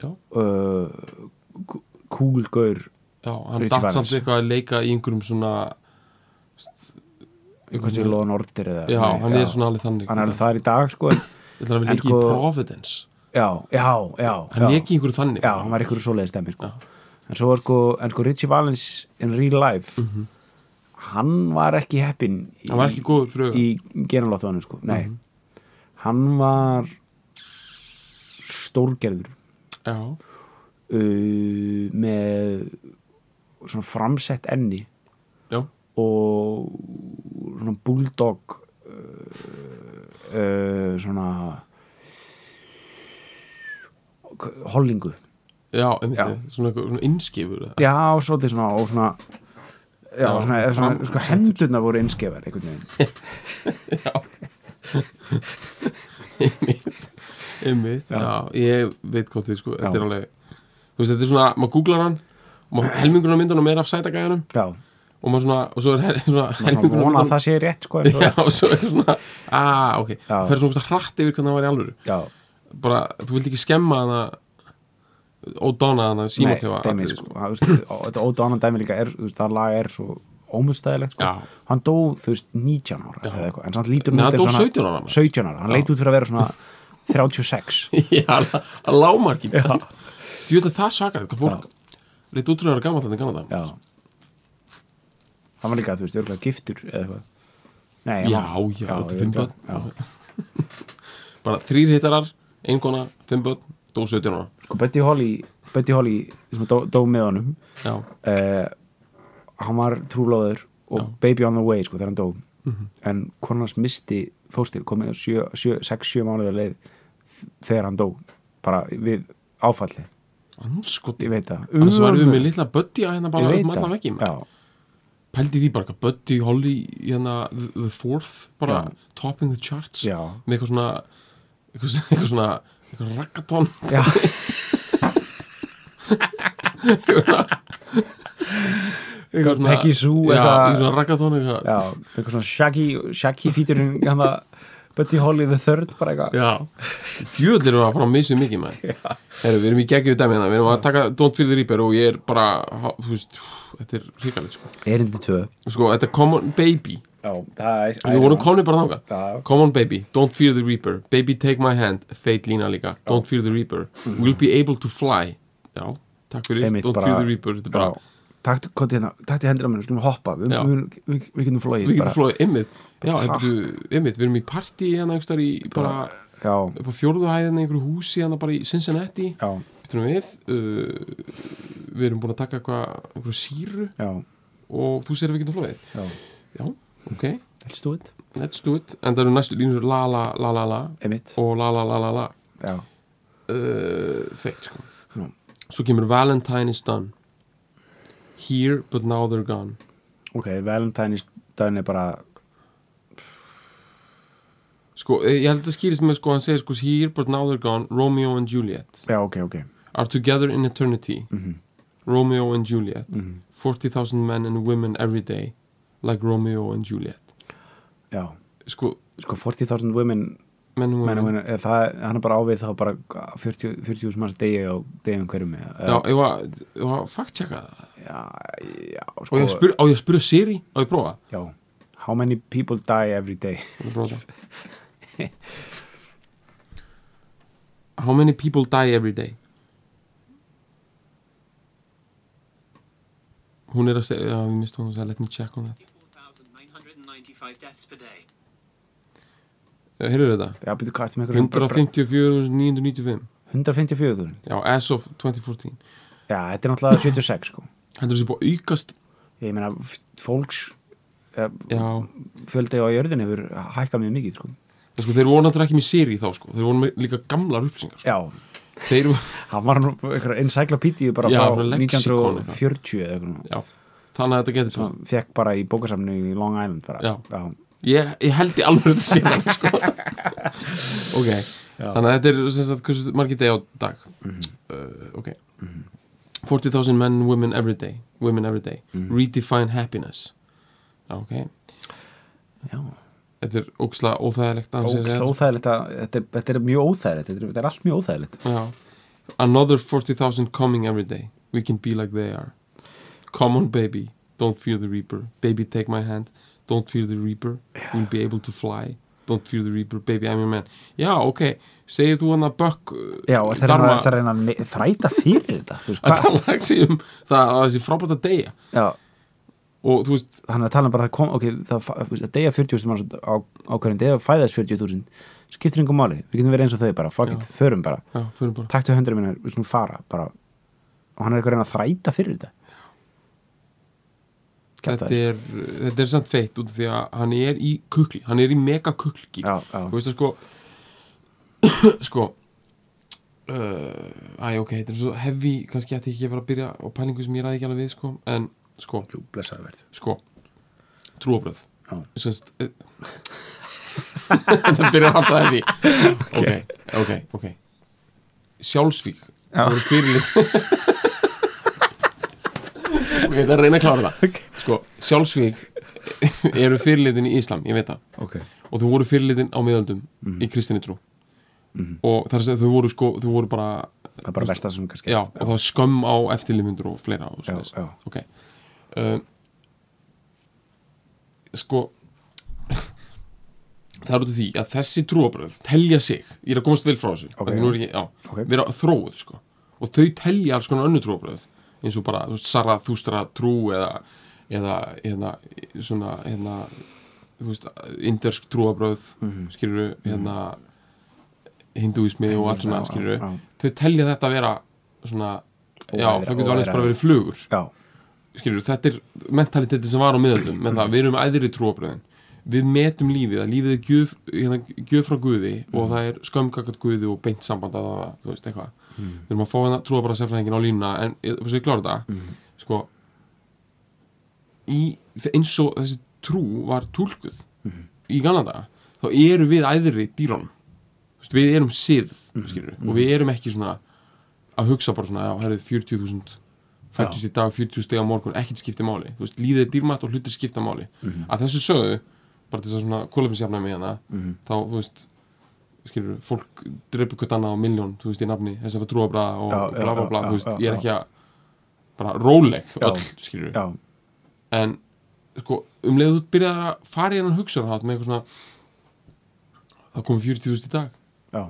já,
uh, cool gaur
já, hann
Richie
datt
Valens.
samt eitthvað að leika í einhverjum svona
eitthvað sem loðan ordir eða,
Mhm. já,
nei,
hann er svona alveg þannig
hann er alveg þar í dag sko en,
Ég ætla að hann
En
leiki
sko-
í Providence
já, já, já,
Hann
já,
leiki í einhverju þannig
já, hann var ykkur svoleiði stemmi sko.
Já.
en svo var sko, en sko Richie Valens in real life hann var ekki heppin í-
Mhm. Hann var ekki góður Mhm. fyrir augun.
í genalóttunum sko, nei hann var stórgerður
Já,
uh, með svona framsett enni
já,
og svona bulldog uh, uh, svona hollingu
já, einmitt,
Já.
Svona, eitthvað- svona innskifur eða?
já, svolítið svona og svona Já,
Já,
svona, eða svona
fram-
sko, hendurna voru innskefar einhvern veginn.
Einmitt, einmitt já. ég veit hvað því sko Þetta
Já.
er alveg, þú veist, þetta er svona Maður googlar hann og maður- helmingurinn á myndunum er af sætagæðanum
Já,
og maður svona, og svo er hel- svona
maður svona vona að það sé rétt sko en svo-
Já, og svo er svona, aaa, ok
Já.
það fer svona ógeðslega hratt yfir hvernig það var í alvöru
já,
bara, þú vilt ekki skemma hana ódána hana um
nei,
símaklefa
dæmi
atriði,
sko það, þú veist, ó- þetta ódánan dæmi líka er, þú veist, það lag er svo ómustæðilegt sko
Já.
hann dó, þú veist, 19 ára eða eitthvað, en samt lítur
Nei, hann
eins
dó
og
17 ára, maður.
17 ára, hann leit út fyrir að vera svona 36
Já, að- að lámarki Þú veit að það sakar hvað fólk Reit útrúlega gammal þannig kannan
já hann var líka, þú veist, örgulega giftur eða eitthvað nei,
Já,
hann-
já, þetta er fimm
örugglega,
börn.
já.
Bara þrýr hittarar, ein kona, fimm börn, dó 17 ára
sko, Betty Holly Betty Holly, sem dó, dó með honum
Já,
uh, hann var trúlóður og
Já. Mhm.
baby on the way, sko, þegar hann dó en konans misti fóstir komið á 6-7 mánuðar leið þ- þegar hann dó bara við áfalli,
anskoti
ég veit það
sko, Annars varum við
Ömurlegt.
með litla Buddy að hérna
Ég
bara
veit
um
það.
allan vekki
já,
Pældi því bara hvað Buddy, Holly, hérna The, the Fourth, bara
Já.
topping the charts
já,
með eitthvað svona eitthvað, eitthvað svona eitthvað raggatón
já,
eitthvað svona-
Peggy Sue
Já,
eitthvað-
eitthvað raggatón eitthvað
já eitthvað svona Shaggy, Shaggy fíturinn hann að Buddy Holly the third bara eitthvað
Já, djöðlir eru að fara að missa mikið með Heru, Við erum í geggjum dæmi hérna Við erum að taka Don't Feel the Reaper og ég er bara ha- þú veist, Þetta er hrikalegt sko.
erindi 2
sko, þetta er Common Baby
já, það er
Við vorum komnir bara þáka
Já.
Common Baby, Don't Fear the Reaper Baby Take My Hand, Fate Lína líka Don't Fear the Reaper, We'll Be Able to Fly Já, takk fyrir,
Einmitt,
Don't
bara-
Fear the Reaper Þetta er bara,
Taktu, komdu hérna, taktu hendur á mér, við skulum hoppa Við,
Já.
við, við, við getum flóið
við
bara.
getum flóið ymmið Já,
takk.
hefðu, ymmið, við erum í partí hérna einhverstaðar í bara,
Já,
upp á fjórðu hæðina í einhverju húsi hérna bara í Cincinnati
já,
Býtum við uh, Við erum búin að taka eitthvað einhverju síru
já,
og þú segir við getum flóðið
já
Já, ok,
Let's do it
let's do it En það eru næstu línur la la la la la
Einmitt
og la la la la la
Já,
uh, Feitt sko
Já.
Svo kemur Valentine is done Here but now they're gone
ok, Valentine's daginn er bara
Sko, eh, ég held að það skýrist með sko, hann segir sko Here but now they're gone, Romeo and Juliet
Já, ok, ok
Are together in eternity Romeo and Juliet 40,000 men and women every day Like Romeo and Juliet
Já,
Sko,
sko 40.000 women
menn og
Men,
women
women, er, það, hann er bara ávið þá bara 40 40.000 manns degi á degum hverjum
Já, ég var, ég var fakt checka það
já, já,
Og
sko
ég spyr, á ég að spyrja Siri, á ég að prófa
Já, how many people die every day
Ég að prófa það How many people die every day? Hún er að segja, já, við mistum hún að segja, let me check on that
4,995 deaths per day.
Eh, Heyrðu þetta?
Já, byrju, hvað, ertu með eitthvað svona-
154.995
154.000
Já, as of 2014
Já, þetta er náttúrulega 76 sko
Heldur þessi búið að aukast
ég meina f- fólks eh,
Já,
fjöldi á jörðin hefur hækkað mjög mikið sko.
En sko, þeir voru náttúrulega ekki með Siri þá, sko Þeir voru með líka gamlar upplýsingar, sko
já,
Þeir voru
hann var nú einhver encyclopedíu bara
Já,
frá
bara lexikon
1940 eða eitthvað
Já, þannig að þetta getur
Svo fekk bara í bókasamni í Long Island bara
Já.
já,
ég, ég held í alveg þetta síðan sko. ok þannig að þetta er sem sagt hversu margir degi á dag uh, ok 40,000 men, women every day women every day, redefine happiness já, ok
já.
þetta er óksla óþægilegt að hann sé að segja
Ógeðslega óþægilegt að- þetta, er- þetta er mjög óþægilegt þetta er, þetta er allt mjög óþægilegt
þetta. Já. another 40,000 coming every day we can be like they are come on baby, don't fear the reaper baby take my hand, don't fear the reaper we'll be able to fly don't fear the reaper, baby I'm your man já, ok, segir þú hann að Buck uh,
já, og það er
Dharma-
að- það er að reyna að þræta fyrir þetta þú veist,
að
hva,
tala ekki um það að þessi frábært að deyja
já,
og þú veist,
hann er að tala um bara að það kom, ok, það fa- þú veist, að deyja 40.000 manns á, á hverjum deyja fæðast 40.000 skiptir engum máli, við getum verið eins og þau bara fuck it, förum bara
já, fyrir bara
taktu höndur minna, við skulum fara bara. og hann er eitthvað að reyna að þræta fyrir þetta
þetta
Kjaftaði.
er, uh, þetta er samt feitt út af því að hann er í kukli, hann er í mega kukli
já, já,
þú veist að sko sko uh, æ, ok, þetta er svo hefi kannski ætti ég ekki að fara að byrja á pælingu sem ég ræði ekki alveg við sko, en sko,
jú, blessaði verð
sko trúabröð
Já.
Sest, uh, það byrjar alltaf hefi ok, ok, ok sjálfsvík
Já.
það voru fyrirlið Ég ætla að reyna að klára það Sko, sjálfsvík eru fyrirlitin í Íslam, ég veit það
ok,
og þau voru fyrirlitin á miðaldum í kristinni trú og þar sem þau voru sko, þau voru bara
það er bara versta sem kannski
já, og það var skömm á eftirlifundur og fleira og
já,
svoleiðis.
já,
ok uh, sko það er út af því að þessi trúabröð telja sig, ég er að komast vel frá þessu
Ok,
okay,
já.
ekki, já,
Ok.
vera þróuð sko. og þau telja alls konar önnu trúabröð eins og bara þú veist, Sarathustra trú eða, eða hérna, svona hérna, þú veist, indersk trúabröð
Mhm.
mm. skilur hérna hindúismi og allt svona
Já, já,
skilur
já. þau
þau telja þetta að vera svona, já,
Óæðra-
það getur alveg bara
óæðra.
verið flugur
já,
skilur, þetta er mentaliteti sem var á miðaldum með það, við erum æðri trúabröðin við metum lífið, að lífið er gjöf, hérna, gjöf frá Guði og það er skömmkakat Guði og beint samband að það, þú veist, eitthvað við erum að fá hérna trúabröða sérfræðingin á línuna en eh, þess að ég klára þetta sko í, eins og þessi trú var túlkuð í Kanada þá eru við æðri dýrónum Þú veist, við erum sið
Mhm.
skilur, og við erum ekki svona að hugsa bara svona, já, herrið 40.000 fættust í dag 40 steg á morgun ekkert skipti máli, þú veist, lífið er dýrmætt og hlutir skipta máli,
Mhm.
að þessu sögðu bara til þess að svona kóluminsjafna með hana
Mhm.
þá, þú veist, skilur fólk dreipur hvert annað á miljón þú veist, í nafni, þess að trúa bara og
Já,
og
já,
bla bla
já,
bla,
já,
þú veist,
já,
ég er
já.
ekki að bara róleg
Já.
öll, skilur
já,
en sko, um leiðu þú byrjar að fara í hennan hugsunarhátt með eitthvað svona það komu 40.000 í dag
já,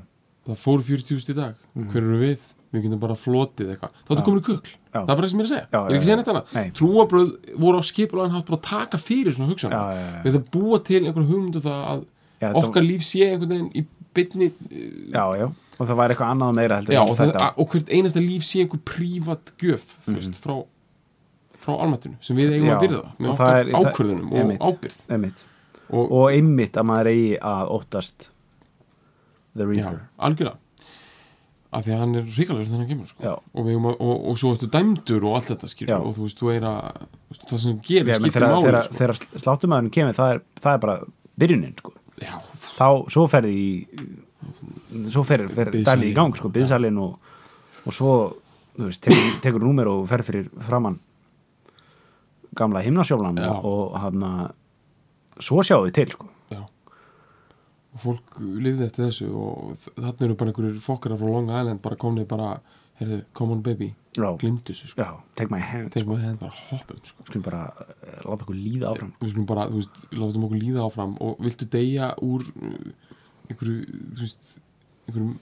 það fóru 40.000 í dag hver eru við, við getum bara flotið eitthvað þá ertu
Mm. Já.
komin í kukl,
Já.
það er bara það sem ég er að segja
Já,
ég er ekki að
já,
segja neitt
já.
annað,
Nei.
trúabröð voru á skipulaðan hátt bara að taka fyrir svona hugsan,
já, já, já.
við það búa til einhver hugmyndu það að
Já, þetta-
okkar líf sé einhvern veginn í beinni eh,
já, já og það væri eitthvað annað og meira heldur
já,
en
og, það,
þetta.
að- og hvert einasta líf sé einhver prívat gjöf, þú veist, frá frá almættinu, sem við eigum
Mhm. Já,
að byrða með
og það
okkar
er- það-
ákvörðunum
einmitt.
og ábyrð
einmitt
og,
og einmitt að maður eigi að óttast The
Já,
Reaper
algjörlega af því að hann er ríkalegur þannig að kemur sko.
Já.
og, við eigum að, og, og svo ertu dæmdur og allt þetta skilur
Já.
og þú veist, þú er að þú veist, það sem þú gerir
Já, menn
skiptir
þegar,
máli
þegar,
sko.
þegar sláttumæðurinn kemur það er, það er bara byrjunin sko.
Já,
þá, svo ferði í svo fer, fer
Biðsalinn.
dæli í gang sko, byðsalinn og, og svo þú veist, tekur, tekur númer og fer fyrir framann gamla himnasjóflan
Já.
og hann svo sjáum við til sko.
já og fólk lifði eftir þessu og þannig eru bara einhverjir fokkara frá Long Island bara komnið bara, heyrðu, come on baby
Já.
glimtu þessu, sko.
já, take my hand
þegar maður henni bara hoppum sko.
skulum bara eh, láta okkur líða áfram
við skulum bara, þú veist, látum okkur líða áfram og viltu deyja úr uh, einhverju, þú veist einhverjum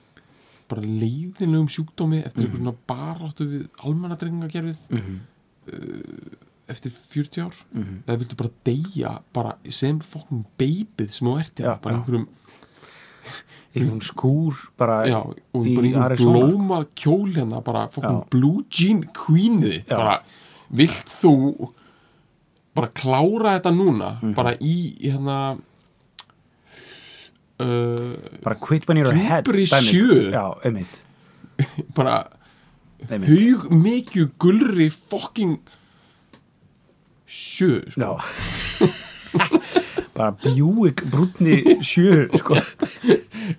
bara leiðinlegum sjúkdómi eftir
Mhm.
einhverjum svona baráttu við almannadrengingakerfið uh, eftir 40 ár
Mhm.
eða viltu bara deyja bara sem fokkum beibið sem þú ert
Já,
hérna, bara
já.
einhverjum,
einhvern skúr bara
já, og
í
bara einhverjum
Arizona, sko.
blóma kjól hérna, bara fokkum
Já.
blue jean queenið þitt,
Já.
bara vilt þú bara klára þetta núna
Mhm.
bara í hérna uh,
bara quit when you're ahead
Djúpri
dæmi, sko.
sjö.
já, einmitt,
bara
einmitt.
hug mikið gulri fokking sjö sko.
Já. bara bjúik brúnni sjö sko.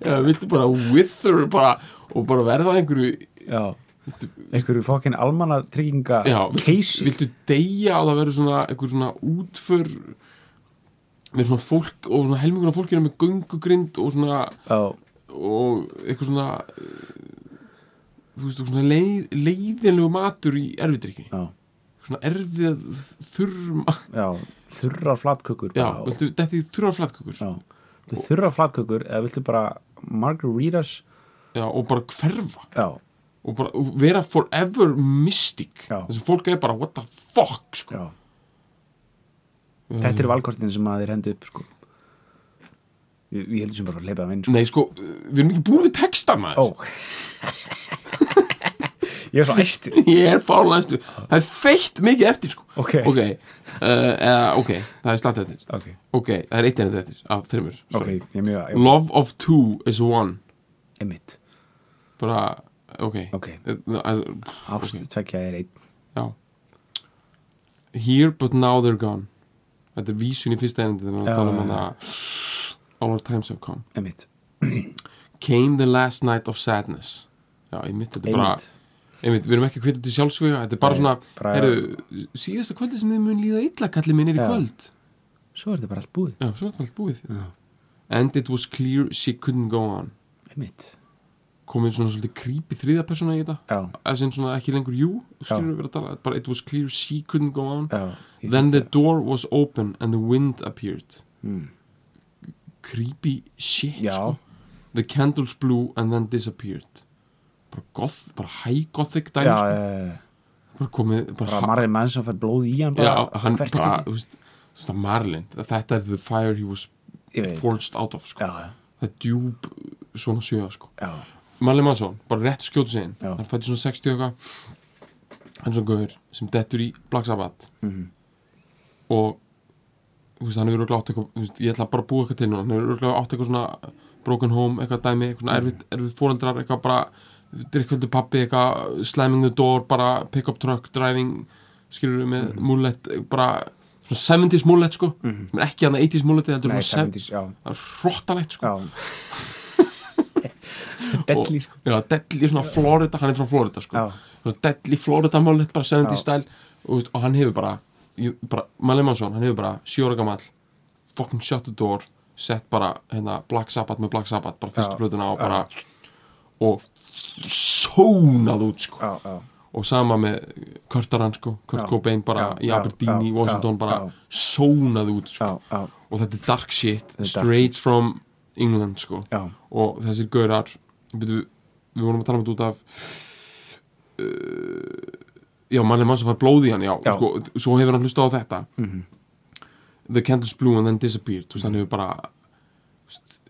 eða viltu bara wither bara, og bara verða einhverju
já einhverju fokkin almanna trygginga
já, viltu,
Casey
viltu deyja og það verður svona einhver svona útför með svona fólk og svona helmingur af fólkinu með göngugrind og svona
já,
og eitthvað svona eh, þú veist, eitthvað svona leið, leiðinlegu matur í erfidrykki
já,
svona erfið þurrma
já, þurrar flatkökur
já,
bara,
viltu, þetta er þurra flatkökur
já. Viltu þurrar flatkökur eða viltu bara margaritas
já, og bara hverfa
já,
og bara og vera forever mystic
Já.
þess að fólk er bara what the fuck sko.
já þetta
Mm.
eru valkostin sem að þeir hendu upp sko. ég, ég heldur sem bara að leipa að vinn sko.
nei sko, við erum ekki búin við texta maður
ó ég er svo æstur
ég er fálæðstu, það er feitt mikið eftir sko.
Ok.
ok, uh, eða, ok það er slatt eftir
ok,
ok, það er eitt ennett eftir af þreymur
ok,
Sorry.
ég er mjög að
love of two is one
emitt,
bara, ok,
Ok.
Eh, eh,
ást, okay. tvekja er einn
já here but now they're gone þetta er vísun í fyrsta ennandi þannig
Já,
að tala um
já,
hana all our times have come
emitt,
Came the last night of sadness Já, ég mitt, þetta er bara
emitt
einmitt, við erum ekki að hvita til sjálfsvíða þetta er bara
Nei,
svona,
bara-
heyrðu, síðasta kvöldi sem þið mun líða illa kallið minn er í
Já.
kvöld
svo er þetta bara allt búið
já, svo er þetta allt búið
Já.
and it was clear she couldn't go on
einmitt
komið svona svolítið creepy þriða persóna í þetta
já,
as in svona ekki lengur you
Já.
skilur við verið að tala, bara it was clear she couldn't go on
já ég
then the
finnst
door was open and the wind appeared
mm.
creepy shit
Já.
sko. the candles blew and then disappeared bara goth, bara high gothic
já,
dæmi
já,
sko.
já, já.
bara komið bara,
bara Marri mann sem fær blóð í hann bara,
já, hann ah,
hvert
bara,
skipti.
þú veist, þú veist að Marlin þetta er the fire he was
ég veit
forged out of sko.
já, já,
það er djúb svona sjöða sko.
já,
Marlin Mansson, bara rétt skjótu siginn
Já.
hann fætti svona 60 og eitthvað hann er svona gauður sem dettur í Black Sabbath
Mhm.
og þú veist, hann hefur örugglega átt eitthvað þú veist, ég ætla bara að búa eitthvað til núna hann hefur örugglega átt eitthvað svona broken home eitthvað dæmi, eitthvað svona erfitt, erfitt foreldrar eitthvað bara, drikkveldu pappi eitthvað slamming the door, bara pick up truck driving, skilur við
Mhm.
með mm mullet, bara svona 70s mullet sko, mm -hmm. ekki hann 80s mullet þetta er
nei,
svona 70s,
70s, já,
það er hróttalegt sko
já Delli, sko
Já, Delli svona Florida, hann er frá Florida sko.
Já.
Svona Delli Florida málið bara 70
Já.
stæl og, veist, og hann hefur bara, ég- bara Malin Mansson, hann hefur bara sjóra gamall fucking shut the door sett bara hérna Black Sabbath með Black Sabbath bara fyrstu
Já.
plötuna og bara og sónað út sko.
já, já,
og sama með Kurtaran sko, Kurt
Já.
Cobain bara
Já,
í
já,
Aberdeen
já,
í Washington
já,
bara
já.
sónað út sko.
já, já,
og þetta er dark shit
er dark
straight from England sko
já,
og þessir gaurar byrju, við vorum að tala um þetta út af uh, já, mann er mann sem fær blóð í hann já,
Já.
Sko, svo hefur hann hlustað á þetta
Mhm.
the candles blew and then disappeared þú veist, hann hefur bara þú veist,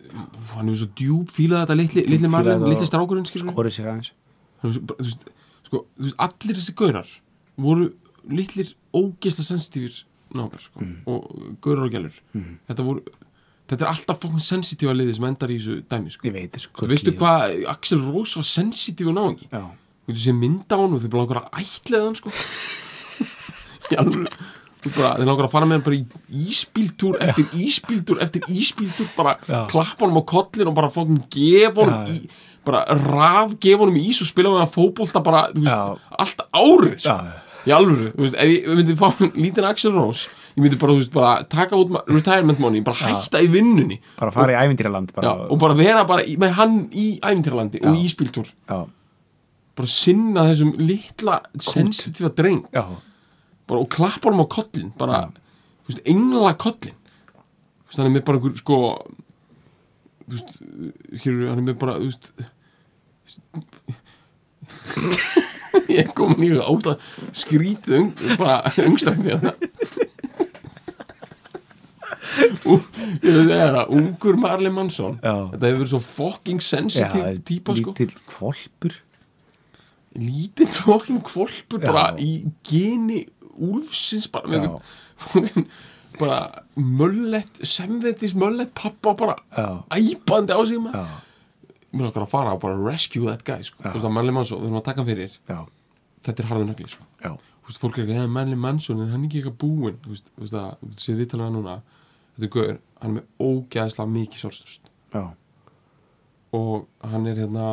hann hefur svo djúb fílað þetta litli, litli
Fílað
marlin,
og-
litli strákurinn skilur
skorið sig aðeins
Þú veist, bara- þú veist, sko, þú veist, allir þessi gaurar voru litlir ógeðslega sensitífir nákar sko,
Mhm.
og gaurar og gælur þetta voru þetta er alltaf fokkun sensitífa liði sem endar í þessu dæmi sko.
ég veit, sko
Þú veistu
ekki-
hvað Axel Rose var sensitíf og náðingi?
já,
Þú sé mynda á hann og þau bara langar að ætlaði hann sko Í alvöru. Þú bara, Þau langar að fara með hann bara í íspíltúr eftir íspíltúr eftir íspíltúr bara
Já.
klappa honum á kollin og bara fókum gefa honum
Já, já.
í bara raf gefa honum í ís og spila með hann fótbolta bara þú
Já.
veist, allt árið sko.
já,
Í alvöru, þú veist, ef ég ef ég myndi fá lítinn Axel Rose, ég myndi bara, þú veist, bara taka út ma- retirement money, bara hætta í vinnunni
bara fara í
Já,
ævindýraland bara,
og bara vera bara í, með hann í æfintirlandi og í spiltúr
já,
bara sinna þessum litla sensitífa dreng
já,
bara, og klappa honum á kollin bara, þú veist, engla kollin þú veist, hann er með bara einhver sko þú veist, hér eru, hann er með bara þú veist ég kom nýja át að skrítið ung, bara hérna. ungstækni þetta Ú, ég veit það er að ungur Marley Mansson
Já.
þetta hefur verið svo fucking sensitive
já
típa sko
lítil kvolpur
lítið fokkin kvolpur
Já.
bara í geni úlfsins bara með
Já.
einhvern fokkin bara möllett, semvetis möllett pappa bara
Já.
æpandi á sig maður
já,
mér okkar að fara og bara rescue that guy sko.
Já.
þú veist að Manli Mansson, við erum að taka hann fyrir
já,
þetta er harður nögli sko.
já,
þú veist, fólk er ekki, eða Manli Mansson er hann ekki eitthvað búinn þú veist, þú veist að, þú veist, séð viðtalið hann núna þetta er gaur, hann er með ógæðslega mikið sjálfstrust
já,
og hann er hérna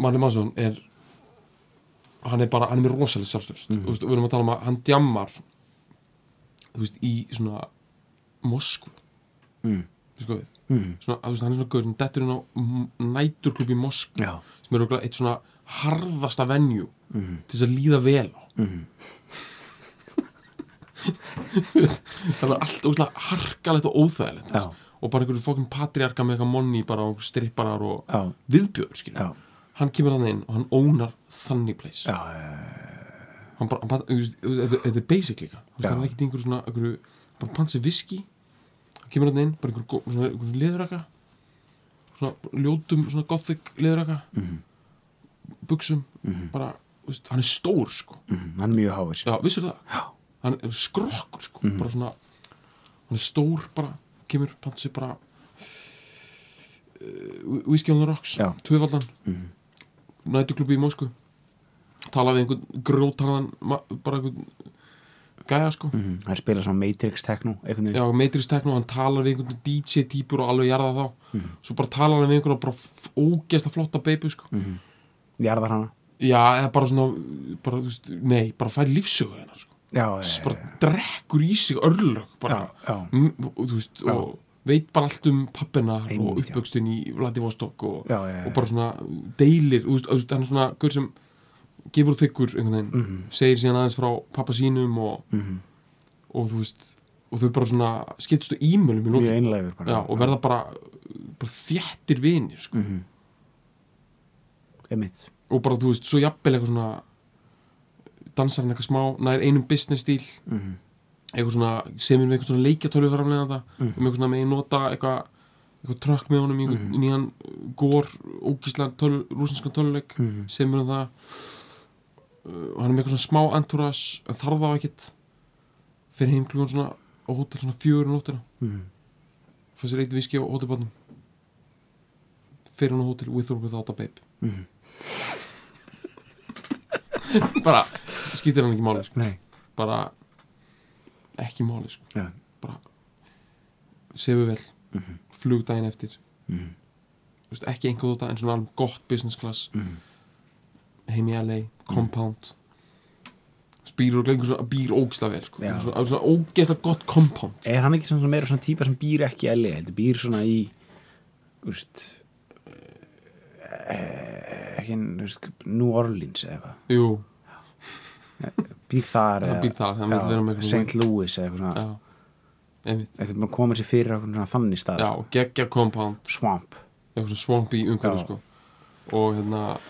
Manni Mansson er hann er bara, hann er með rosalega sjálfstöðust
Mhm.
mm. og við erum að tala um að hann djammar þú veist, í svona Moskvu
Mm.
sko við
Mhm.
svona, þú veist, hann er svona gaur, hann dettur inn á næturklub í Moskvu
já,
sem er okkur eitt svona harðasta venju
Mhm.
til þess að líða vel á Þú veist, það er allt óslega harkalegt og óþægilegt
Já.
og bara einhverju fókin patriarka með eitthvað monni bara og stripparar og
já,
viðbjör skilja,
já,
hann kemur hann inn og hann ónar þannig place
já, já,
hann bara, hann bara, þú veist, þetta þetta er basic líka Þú veist,
Já.
hann er ekkert í einhverju svona, einhverju bara pansi viski, hann kemur hann inn bara einhverju, gó- svona, einhverju leðuraka svona ljótum, svona gothic leðuraka -hmm.
Mhm.
buksum, bara þú veist, hann er stór sko,
Mhm, hann er mjög háður
já, vissur það já. hann er skrokkur sko,
Mhm.
bara svona hann er stór bara, kemur pansi bara uh, whisky on the rocks
Já. Mhm.
tvöfaldan mm -hmm. nætuklubi í Mósku tala við einhvern grjótarðan ma- bara einhvern gæja sko
Mhm, hann spila svona Matrix Techno einhvern veginn
já, Matrix Techno, hann talar við einhvern DJ
Mhm. Mhm.
típur og alveg jarða þá, svo bara talar hann við einhvern bara ógeðsla flotta baby sko
jarðar hana
já, eða bara svona bara, þú veist, nei, bara fær lífsögu hennar sko.
já,
Þess bara drekkur í sig örlög bara,
já, já,
Mm, og, og þú veist,
Já.
og veit bara allt um pappina og
Einmitt, já.
uppvöxtun í Vladivostok og,
já, já,
og bara svona deilir, þú veist, þú veist, hann er svona gaur sem gefur og þykkur einhvern veginn segir síðan aðeins frá pappa sínum og,
Mhm.
og þú veist og þau bara svona skiptust á ímölum í
mjög
lókin
einlegur bara
já, og verða bara, bara þjættir vinir sko.
Mhm. einmitt
og bara þú veist, svo jafnvel eitthvað svona dansar hann eitthvað smá nær einum business stíl
Mhm.
eitthvað svona, semir við eitthvað svona leikjatölu framlega
Mhm.
um eitthvað svona megin nota eitthvað eitthvað trökk með honum í einhvern
Mhm.
nýjan gór, ógísla töl, rúsinskan töluleik
Mhm.
sem er um það uh, og hann er með eitthvað svona smá entourage en þarf það ekkert fyrir heim klukkan svona á hótel svona fjögur um nóttina
Mhm.
fann sér eitt viski á hótelbarnum fyrir hann á hótel with or without a babe
Mhm.
bara skýtir hann ekki máli sko.
nei,
bara ekki máli sko.
já,
bara sefu vel
Mhm.
flug daginn eftir
Mhm.
Þú veist, ekki einhver þetta en svona alveg gott business class
Mhm.
heim í LA, compound býr og lengur svona býr ógisla vel sko.
Já.
svona, svona ógisla gott compound
er hann ekki svona meira svona típa sem býr ekki í LA, heldur býr svona í úst eh, ekki, þú veist, New Orleans eða eitthvað,
jú,
býr þar
það býr þar, hann vil vera með einhverjum-
St. Louis eða eitthvað svona
já, einmitt
eitthvað maður komið sér fyrir á einhvern svona þannig stað
já,
sko.
og geggja compound,
swamp
eitthvað svona swampy umhverfi
Já.
sko. og hérna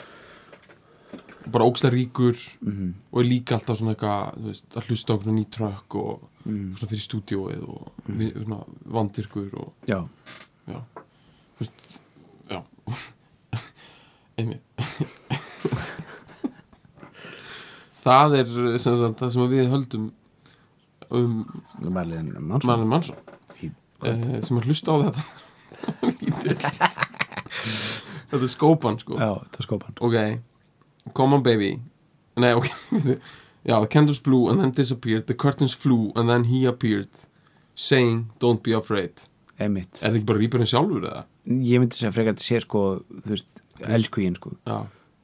bara ógisla ríkur
Mhm.
og er líka alltaf svona eitthvað þú veist, að hlusta á einhvern ný trökk og
Mm.
svona fyrir stúdíóið og vi- svona vandvirkur og
já,
já þú veist, já einmitt það er sem sagt, það sem við höldum um
Marlin Mansson
Marlon Mansson
He-
eh, sem að hlusta á þetta Lítill. þetta er skópan sko
já, það skópa hann
ok, come on baby nei ok já, the candles blew and then disappeared the curtains flew and then he appeared saying don't be afraid
einmitt,
er það ekki bara rýpurinn sjálfur eða?
ég myndi segja frekar að sé sko, þú veist, elsku ég sko
já,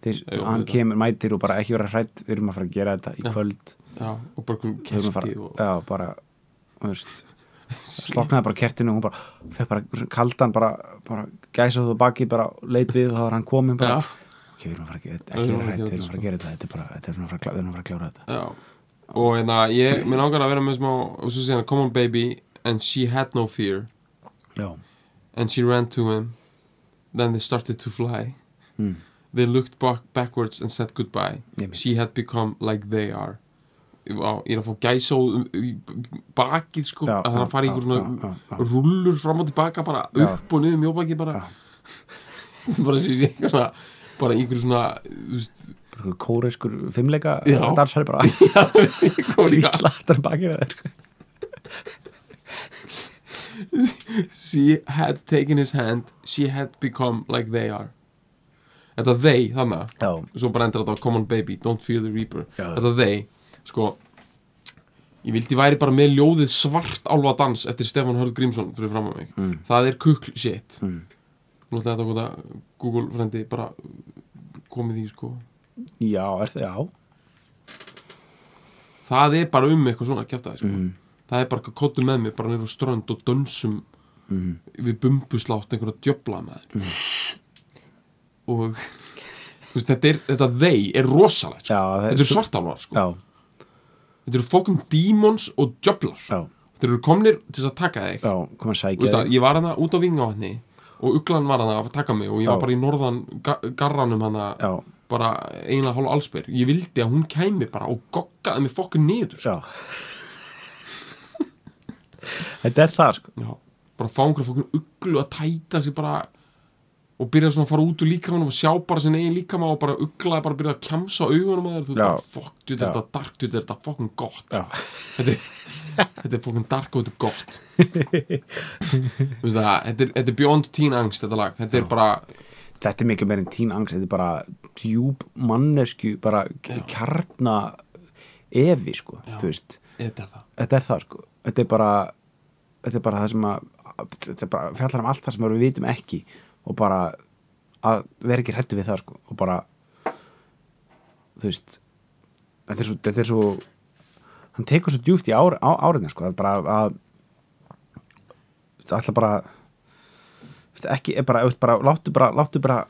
Þeir,
Jú,
hann
auðvitað.
kemur, mætir og bara ekki vera hrætt við erum að fara að gera þetta í
Já.
kvöld
já, og bara einhver
við erum að
kerti
fara,
og
já, bara þú veist, sloknaði bara kertinu og hún bara, fekk bara kaldan bara, bara gæsa þú baki, bara leit við og þá var hann komin bara,
já,
ok, við erum að fara að gera þetta
Við
ekki
erum
vera
að
hrætt,
gera þetta, sko.
við erum að fara að gera þetta þetta er bara, þetta er svona að fara að klá- við erum að fara að klára þetta
já og hérna, ég, mér langar að vera með smá og svo segja hann, come on baby and she had no fear
já,
and she ran to him then they started to fly
mm.
they looked back backwards and said goodbye
Einmitt.
she had become like they are Vá, ég er að fá gæsa og bakið sko,
já
að það er að fara í einhver svona
já, já, já,
rullur fram og tilbaka bara
Já.
upp og niður mjóbakið bara
Já.
bara þessi einhver svona bara einhver svona þú veist,
bara kóreiskur fimmleika
Já.
dansari bara,
ég kom líka
hlýtlatar bakið að þeir sko.
she had taken his hand she had become like they are þetta they þannig
já,
svo bara endur þetta á Come on baby, don't fear the reaper
Já.
þetta þeir, sko ég vildi væri bara með ljóðið svart álfa dans eftir Stefán Hörð Grímsson fyrir fram að mig,
Mm.
það er kukl shit
Mm.
nú ætla þetta að góða Google frendi bara komið í sko
já, er það, já
það er bara um eitthvað svona kjæftaði sko.
Mm.
það er bara kottum með mig bara niður á strönd og dönsum
Mhm.
við bumbuslátt einhverja djöfla með þér
Mm.
og þú veist, þetta, er, þetta þeir er rosalegt sko.
já, það
þetta er svartálfar sko.
já,
þetta eru fókum dímons og djöflar
já,
þeir eru komnir til þess að taka þig
já,
Þú
koma að sækja
veist
þig.
það, ég var hana út á vingavatni og uglan var hana að taka mig og ég var
Já.
bara í norðan ga- garranum hana
já,
bara eiginlega hálf allsbyr ég vildi að hún kæmi bara og goggaði mig fokkun niður sko.
já þetta er það sko
Já. bara fá einhverja fokkun uglu að tæta sig bara og byrja svona að fara út úr líkamanum og sjá bara sinni eigin líkama og bara uglaði bara að byrja að kjamsa á augunum að þér þú
Já.
veist, fokk, þú
Já.
þetta dark, þú þetta fokkun gott
já,
þetta er, þetta er fokkin dark og þetta er gott Þú veist það, þetta er, þetta er beyond teen angst þetta lag, þetta er bara
þetta er miklu meir en tín angst þetta er bara djúb mannesku bara kjarna evi sko,
Já.
þú veist
þetta er það,
þetta er það sko, þetta er bara þetta er bara það sem að þetta er bara fjallar um allt það sem við vitum ekki og bara að vera ekki hrættu við það sko og bara þú veist þetta er svo, þetta er svo hann tekur svo djúft í ár, á, áriðin sko, það er bara að það ætla bara þú veist, ekki, er bara, þú veist, bara láttu bara, láttu bara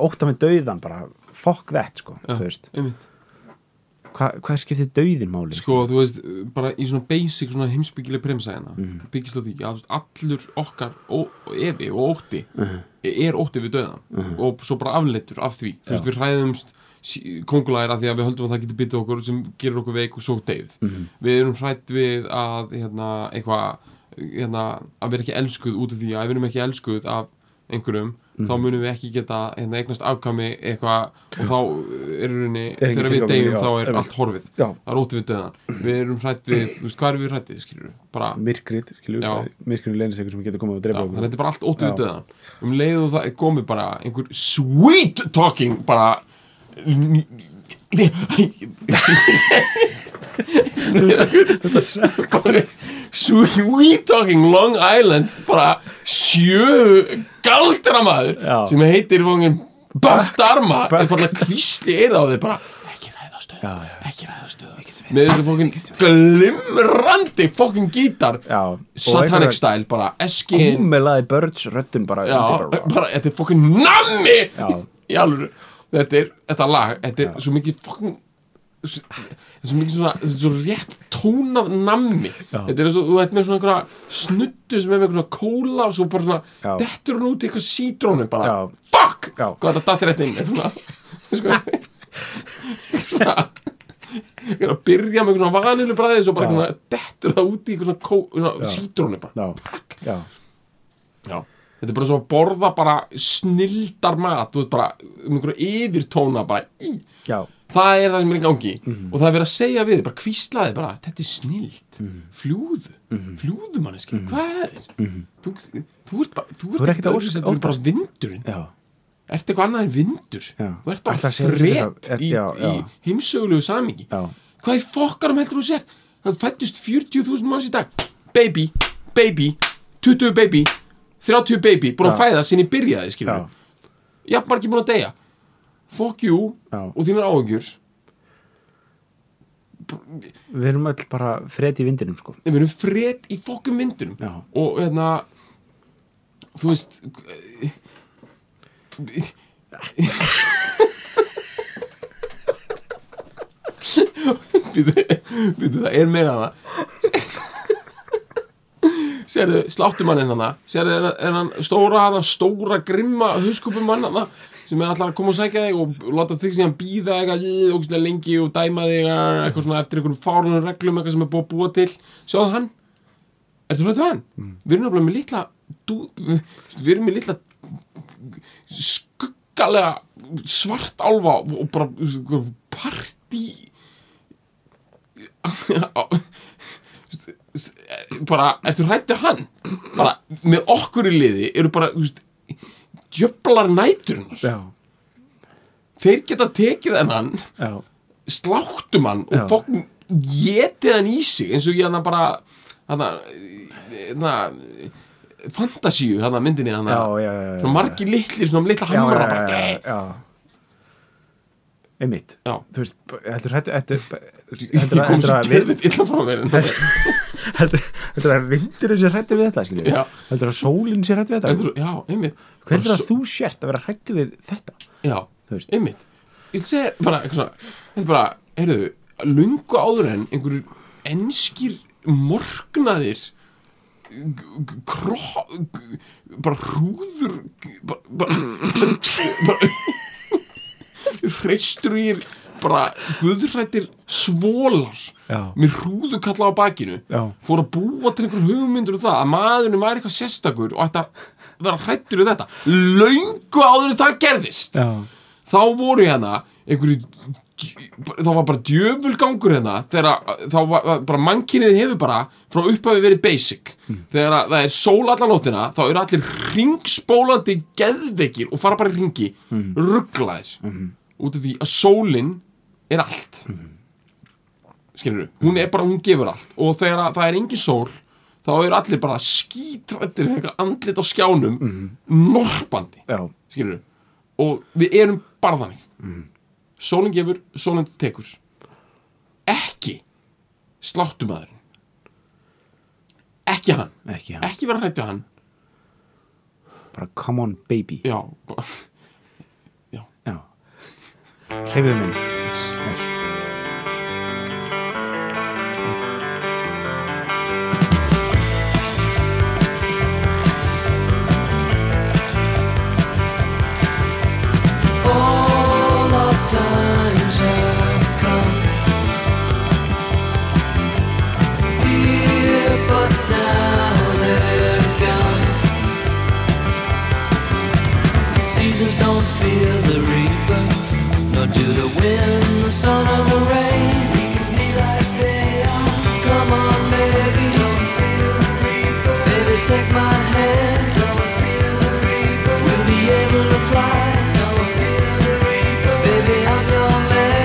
ótta með dauðan bara, fuck that sko,
Já.
þú veist
einmitt
Hva, hvað skiptir dauðin máli
sko, þú veist, bara í svona basic svona heimsbyggileg premisa hérna
Mhm.
byggist á því að þú veist, allur okkar ó, evi og ótti
Mhm.
er ótti við döðan og svo bara afleittur af því, þú veist, við hræðumst kongulæra því að við höldum að það getur byttið okkur sem gerir okkur veik og svo deyð
Mhm.
við erum hrætt við að hérna, eitthvað, hérna, að vera ekki elskuð út af því að ef við erum ekki elskuð af einhverjum, þá
Mhm.
munum við ekki geta hérna, eignast afkami eitthvað og þá eh, er rauninni,
Er engin
þegar við
tilgangur,
deyjum
já,
þá er
einmitt.
allt horfið
Já.
það er ótti við döðan við erum hrætt við, þú veist, hvað erum við hrættið skilur við, bara,
myrkrið, skilju,
Já.
myrkrið leynist eitthvað sem getur komið
já,
og drepa
þannig að
okkur
þetta er bara allt ótti við
Já.
döðan um leið og það er komið bara einhver sweet talking bara bara sweet talking Long Island bara sjö galdramaður
Já.
sem heitir fóngin Bögt Arma er bara kvísli eða á þeir bara ekki ræðast
Já,
auðvitað
já.
ekki ræðast auðvitað með þessu fókin glimrandi fókin gítar
Já, og
satanic
einhverjar-
style bara eskin
Gúmelaði börns röddun bara,
já,
undir bara
bara þetta er fókin nammi
Já.
í alvöru þetta er þetta lag þetta er svo mikið fókin svo mikið svona þetta er svo rétt tónað nammi
Já.
þetta er svo þú ert með svona einhverja snuttu sem er með einhverja svona kóla og svo bara svona
Já.
dettur hún út í eitthvað sítrónu bara
Já.
fuck
Já.
hvað þetta dattir rétt inn svona svona svona ég er að byrja með einhverjum vanilu bræði svo bara
Já.
einhverjum dettur það út í einhverjum kó, svona
Já.
sítrónu bara
Já, já,
Já. þetta er bara svo að borða bara snildar mat þú veit bara um einhverju yfirtóna bara í
já
það er það sem er í gangi og það er verið að segja við þig, bara kvíslaði bara þetta er snild, fljúðu fljúðu manneski, hvað er þér þú, þú ert bara Mhm. þú
Þú
ert
ert
ekkert
ekkert
öðruvísi,
ósk-
þú ert bara vindurinn
Já,
ert eitthvað annað en vindur
Já.
þú ert
Ætla
bara
að segja þessu
frett
þetta, er-
í,
já, já.
í heimsögulegu samingi
Já.
hvað í fokkarum heldur þú sér það fættist 40.000 manns í dag baby, baby, 20 baby 30 baby, búin að
Já.
fæða sinni byrjaði skilur
já,
við jafn margir búin að deyja fuck you
Já.
og þínar áhugjur
við erum öll bara fred í vindinum sko
við erum fred í fokkum vindunum
Já.
og hérna þú veist býtu býtu það er meira hana sérðu sláttumanninn hana sérðu er, er hann stóra hana stóra grimma huskupumann hana sem er allar að koma og sækja þig og láta þig síðan býða eitthvað í ógislega lengi og dæma þig eh, eitthvað svona eftir einhverjum fárunum reglum eitthvað sem er búið að búa til sjáðu hann Ertu hrættu hann? Við erum náttúrulega með litla dú, Við erum með litla skuggalega svart álfa og bara partí bara, ertu hrættu hann? bara, með okkur í liði eru bara, þú veist djöflar næturinnar
Já,
þeir geta tekið hennan
já,
sláttum hann
Já.
og fokkum getið hann í sig eins og ég hann bara hann að fantasíu hann að myndinni hann
já,
að
já, já, já.
svona margi litli, svona litla
já,
hamra
já,
bara,
já, já, já. Einmitt
Já.
Þú veist, b- þetta er hættu Þetta
ég
er-
kom
þetta
svo
er að við-
geðvitt illa frá mér en það
Þetta þetta er að vindurinn sér hættu við þetta skilju
Já.
Þetta er að sólinn sér hættu við
er
þetta
svo- já, einmitt
Hver er
Bara
að
svo-
þú sért að vera hættu við þetta?
já,
Þú veist.
einmitt ég sé bara, eitthvað svona þetta er bara, heyrðu, lungu áður en einhverjur enskir morgnaðir kró bara hrúður bara, bara, bara hreistur í bara guðrættir svólar
Já.
með hrúðu kalla á bakinu
Já.
fór að búa til einhver hugmyndur um það að maðurinn væri eitthvað sérstakur og ætti að vera hrættur við þetta löngu áður en það gerðist
Já,
þá voru hérna einhverju þá var bara djöfulgangur hérna þegar þá var var bara mannkynnið hefur bara frá upphafi verið basic þegar að það er sól allan nótina þá eru allir ringspólandi geðveikir og fara bara í ringi mm. rugglaðir út af því að sólin er allt skilur hún er bara, hún gefur allt og þegar að það er engin sól þá eru allir bara skítrættir eitthvað andlit á skjánum norpandi
já,
skilur og við erum bara þannig sólinn gefur, sólinn tekur ekki sláttumæðurinn ekki hann,
ekki hann,
ekki vera hrættu hann
bara come on baby
já, bara-
já, hreyfðu minn
Seasons don't fear the reaper, nor do the wind, the sun, or the rain. We can be like they are. Come on, baby, don't feel the reaper. Baby, take my hand. Don't feel the reaper. We'll be able to fly. Don't feel the reaper. Baby, I'm your man.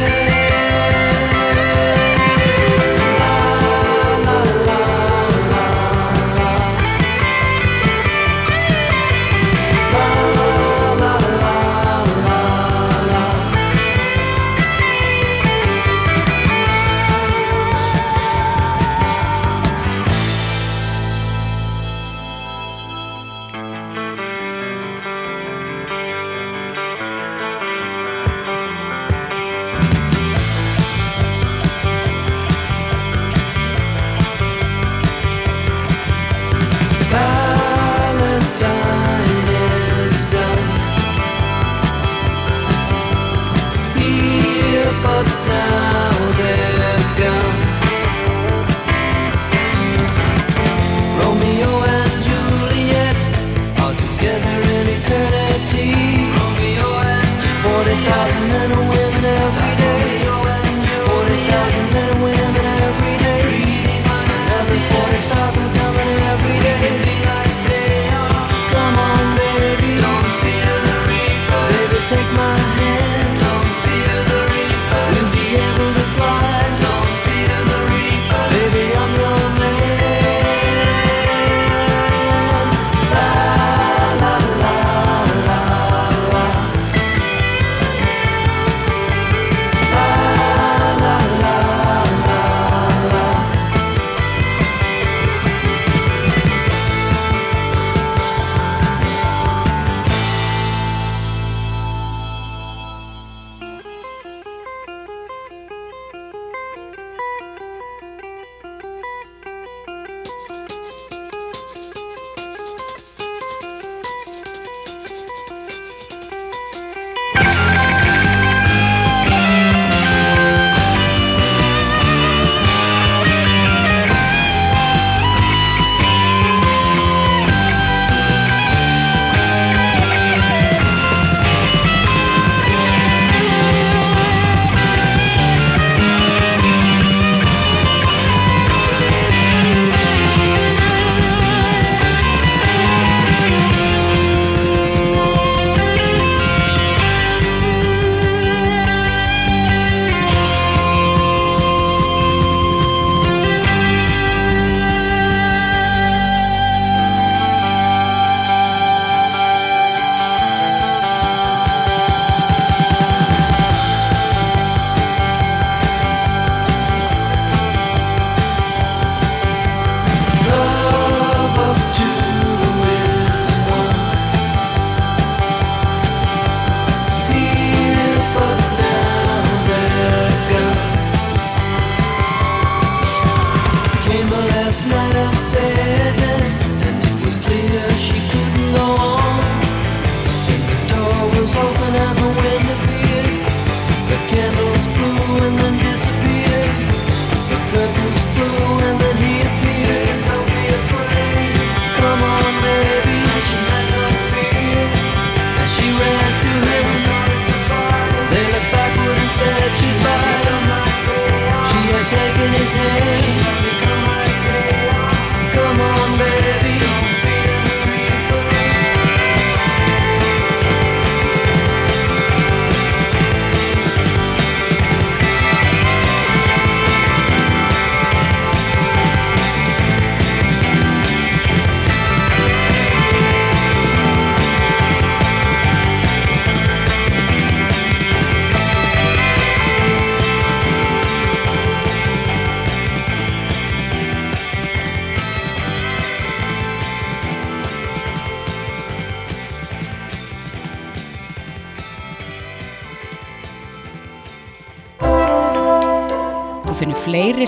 og finnum fleiri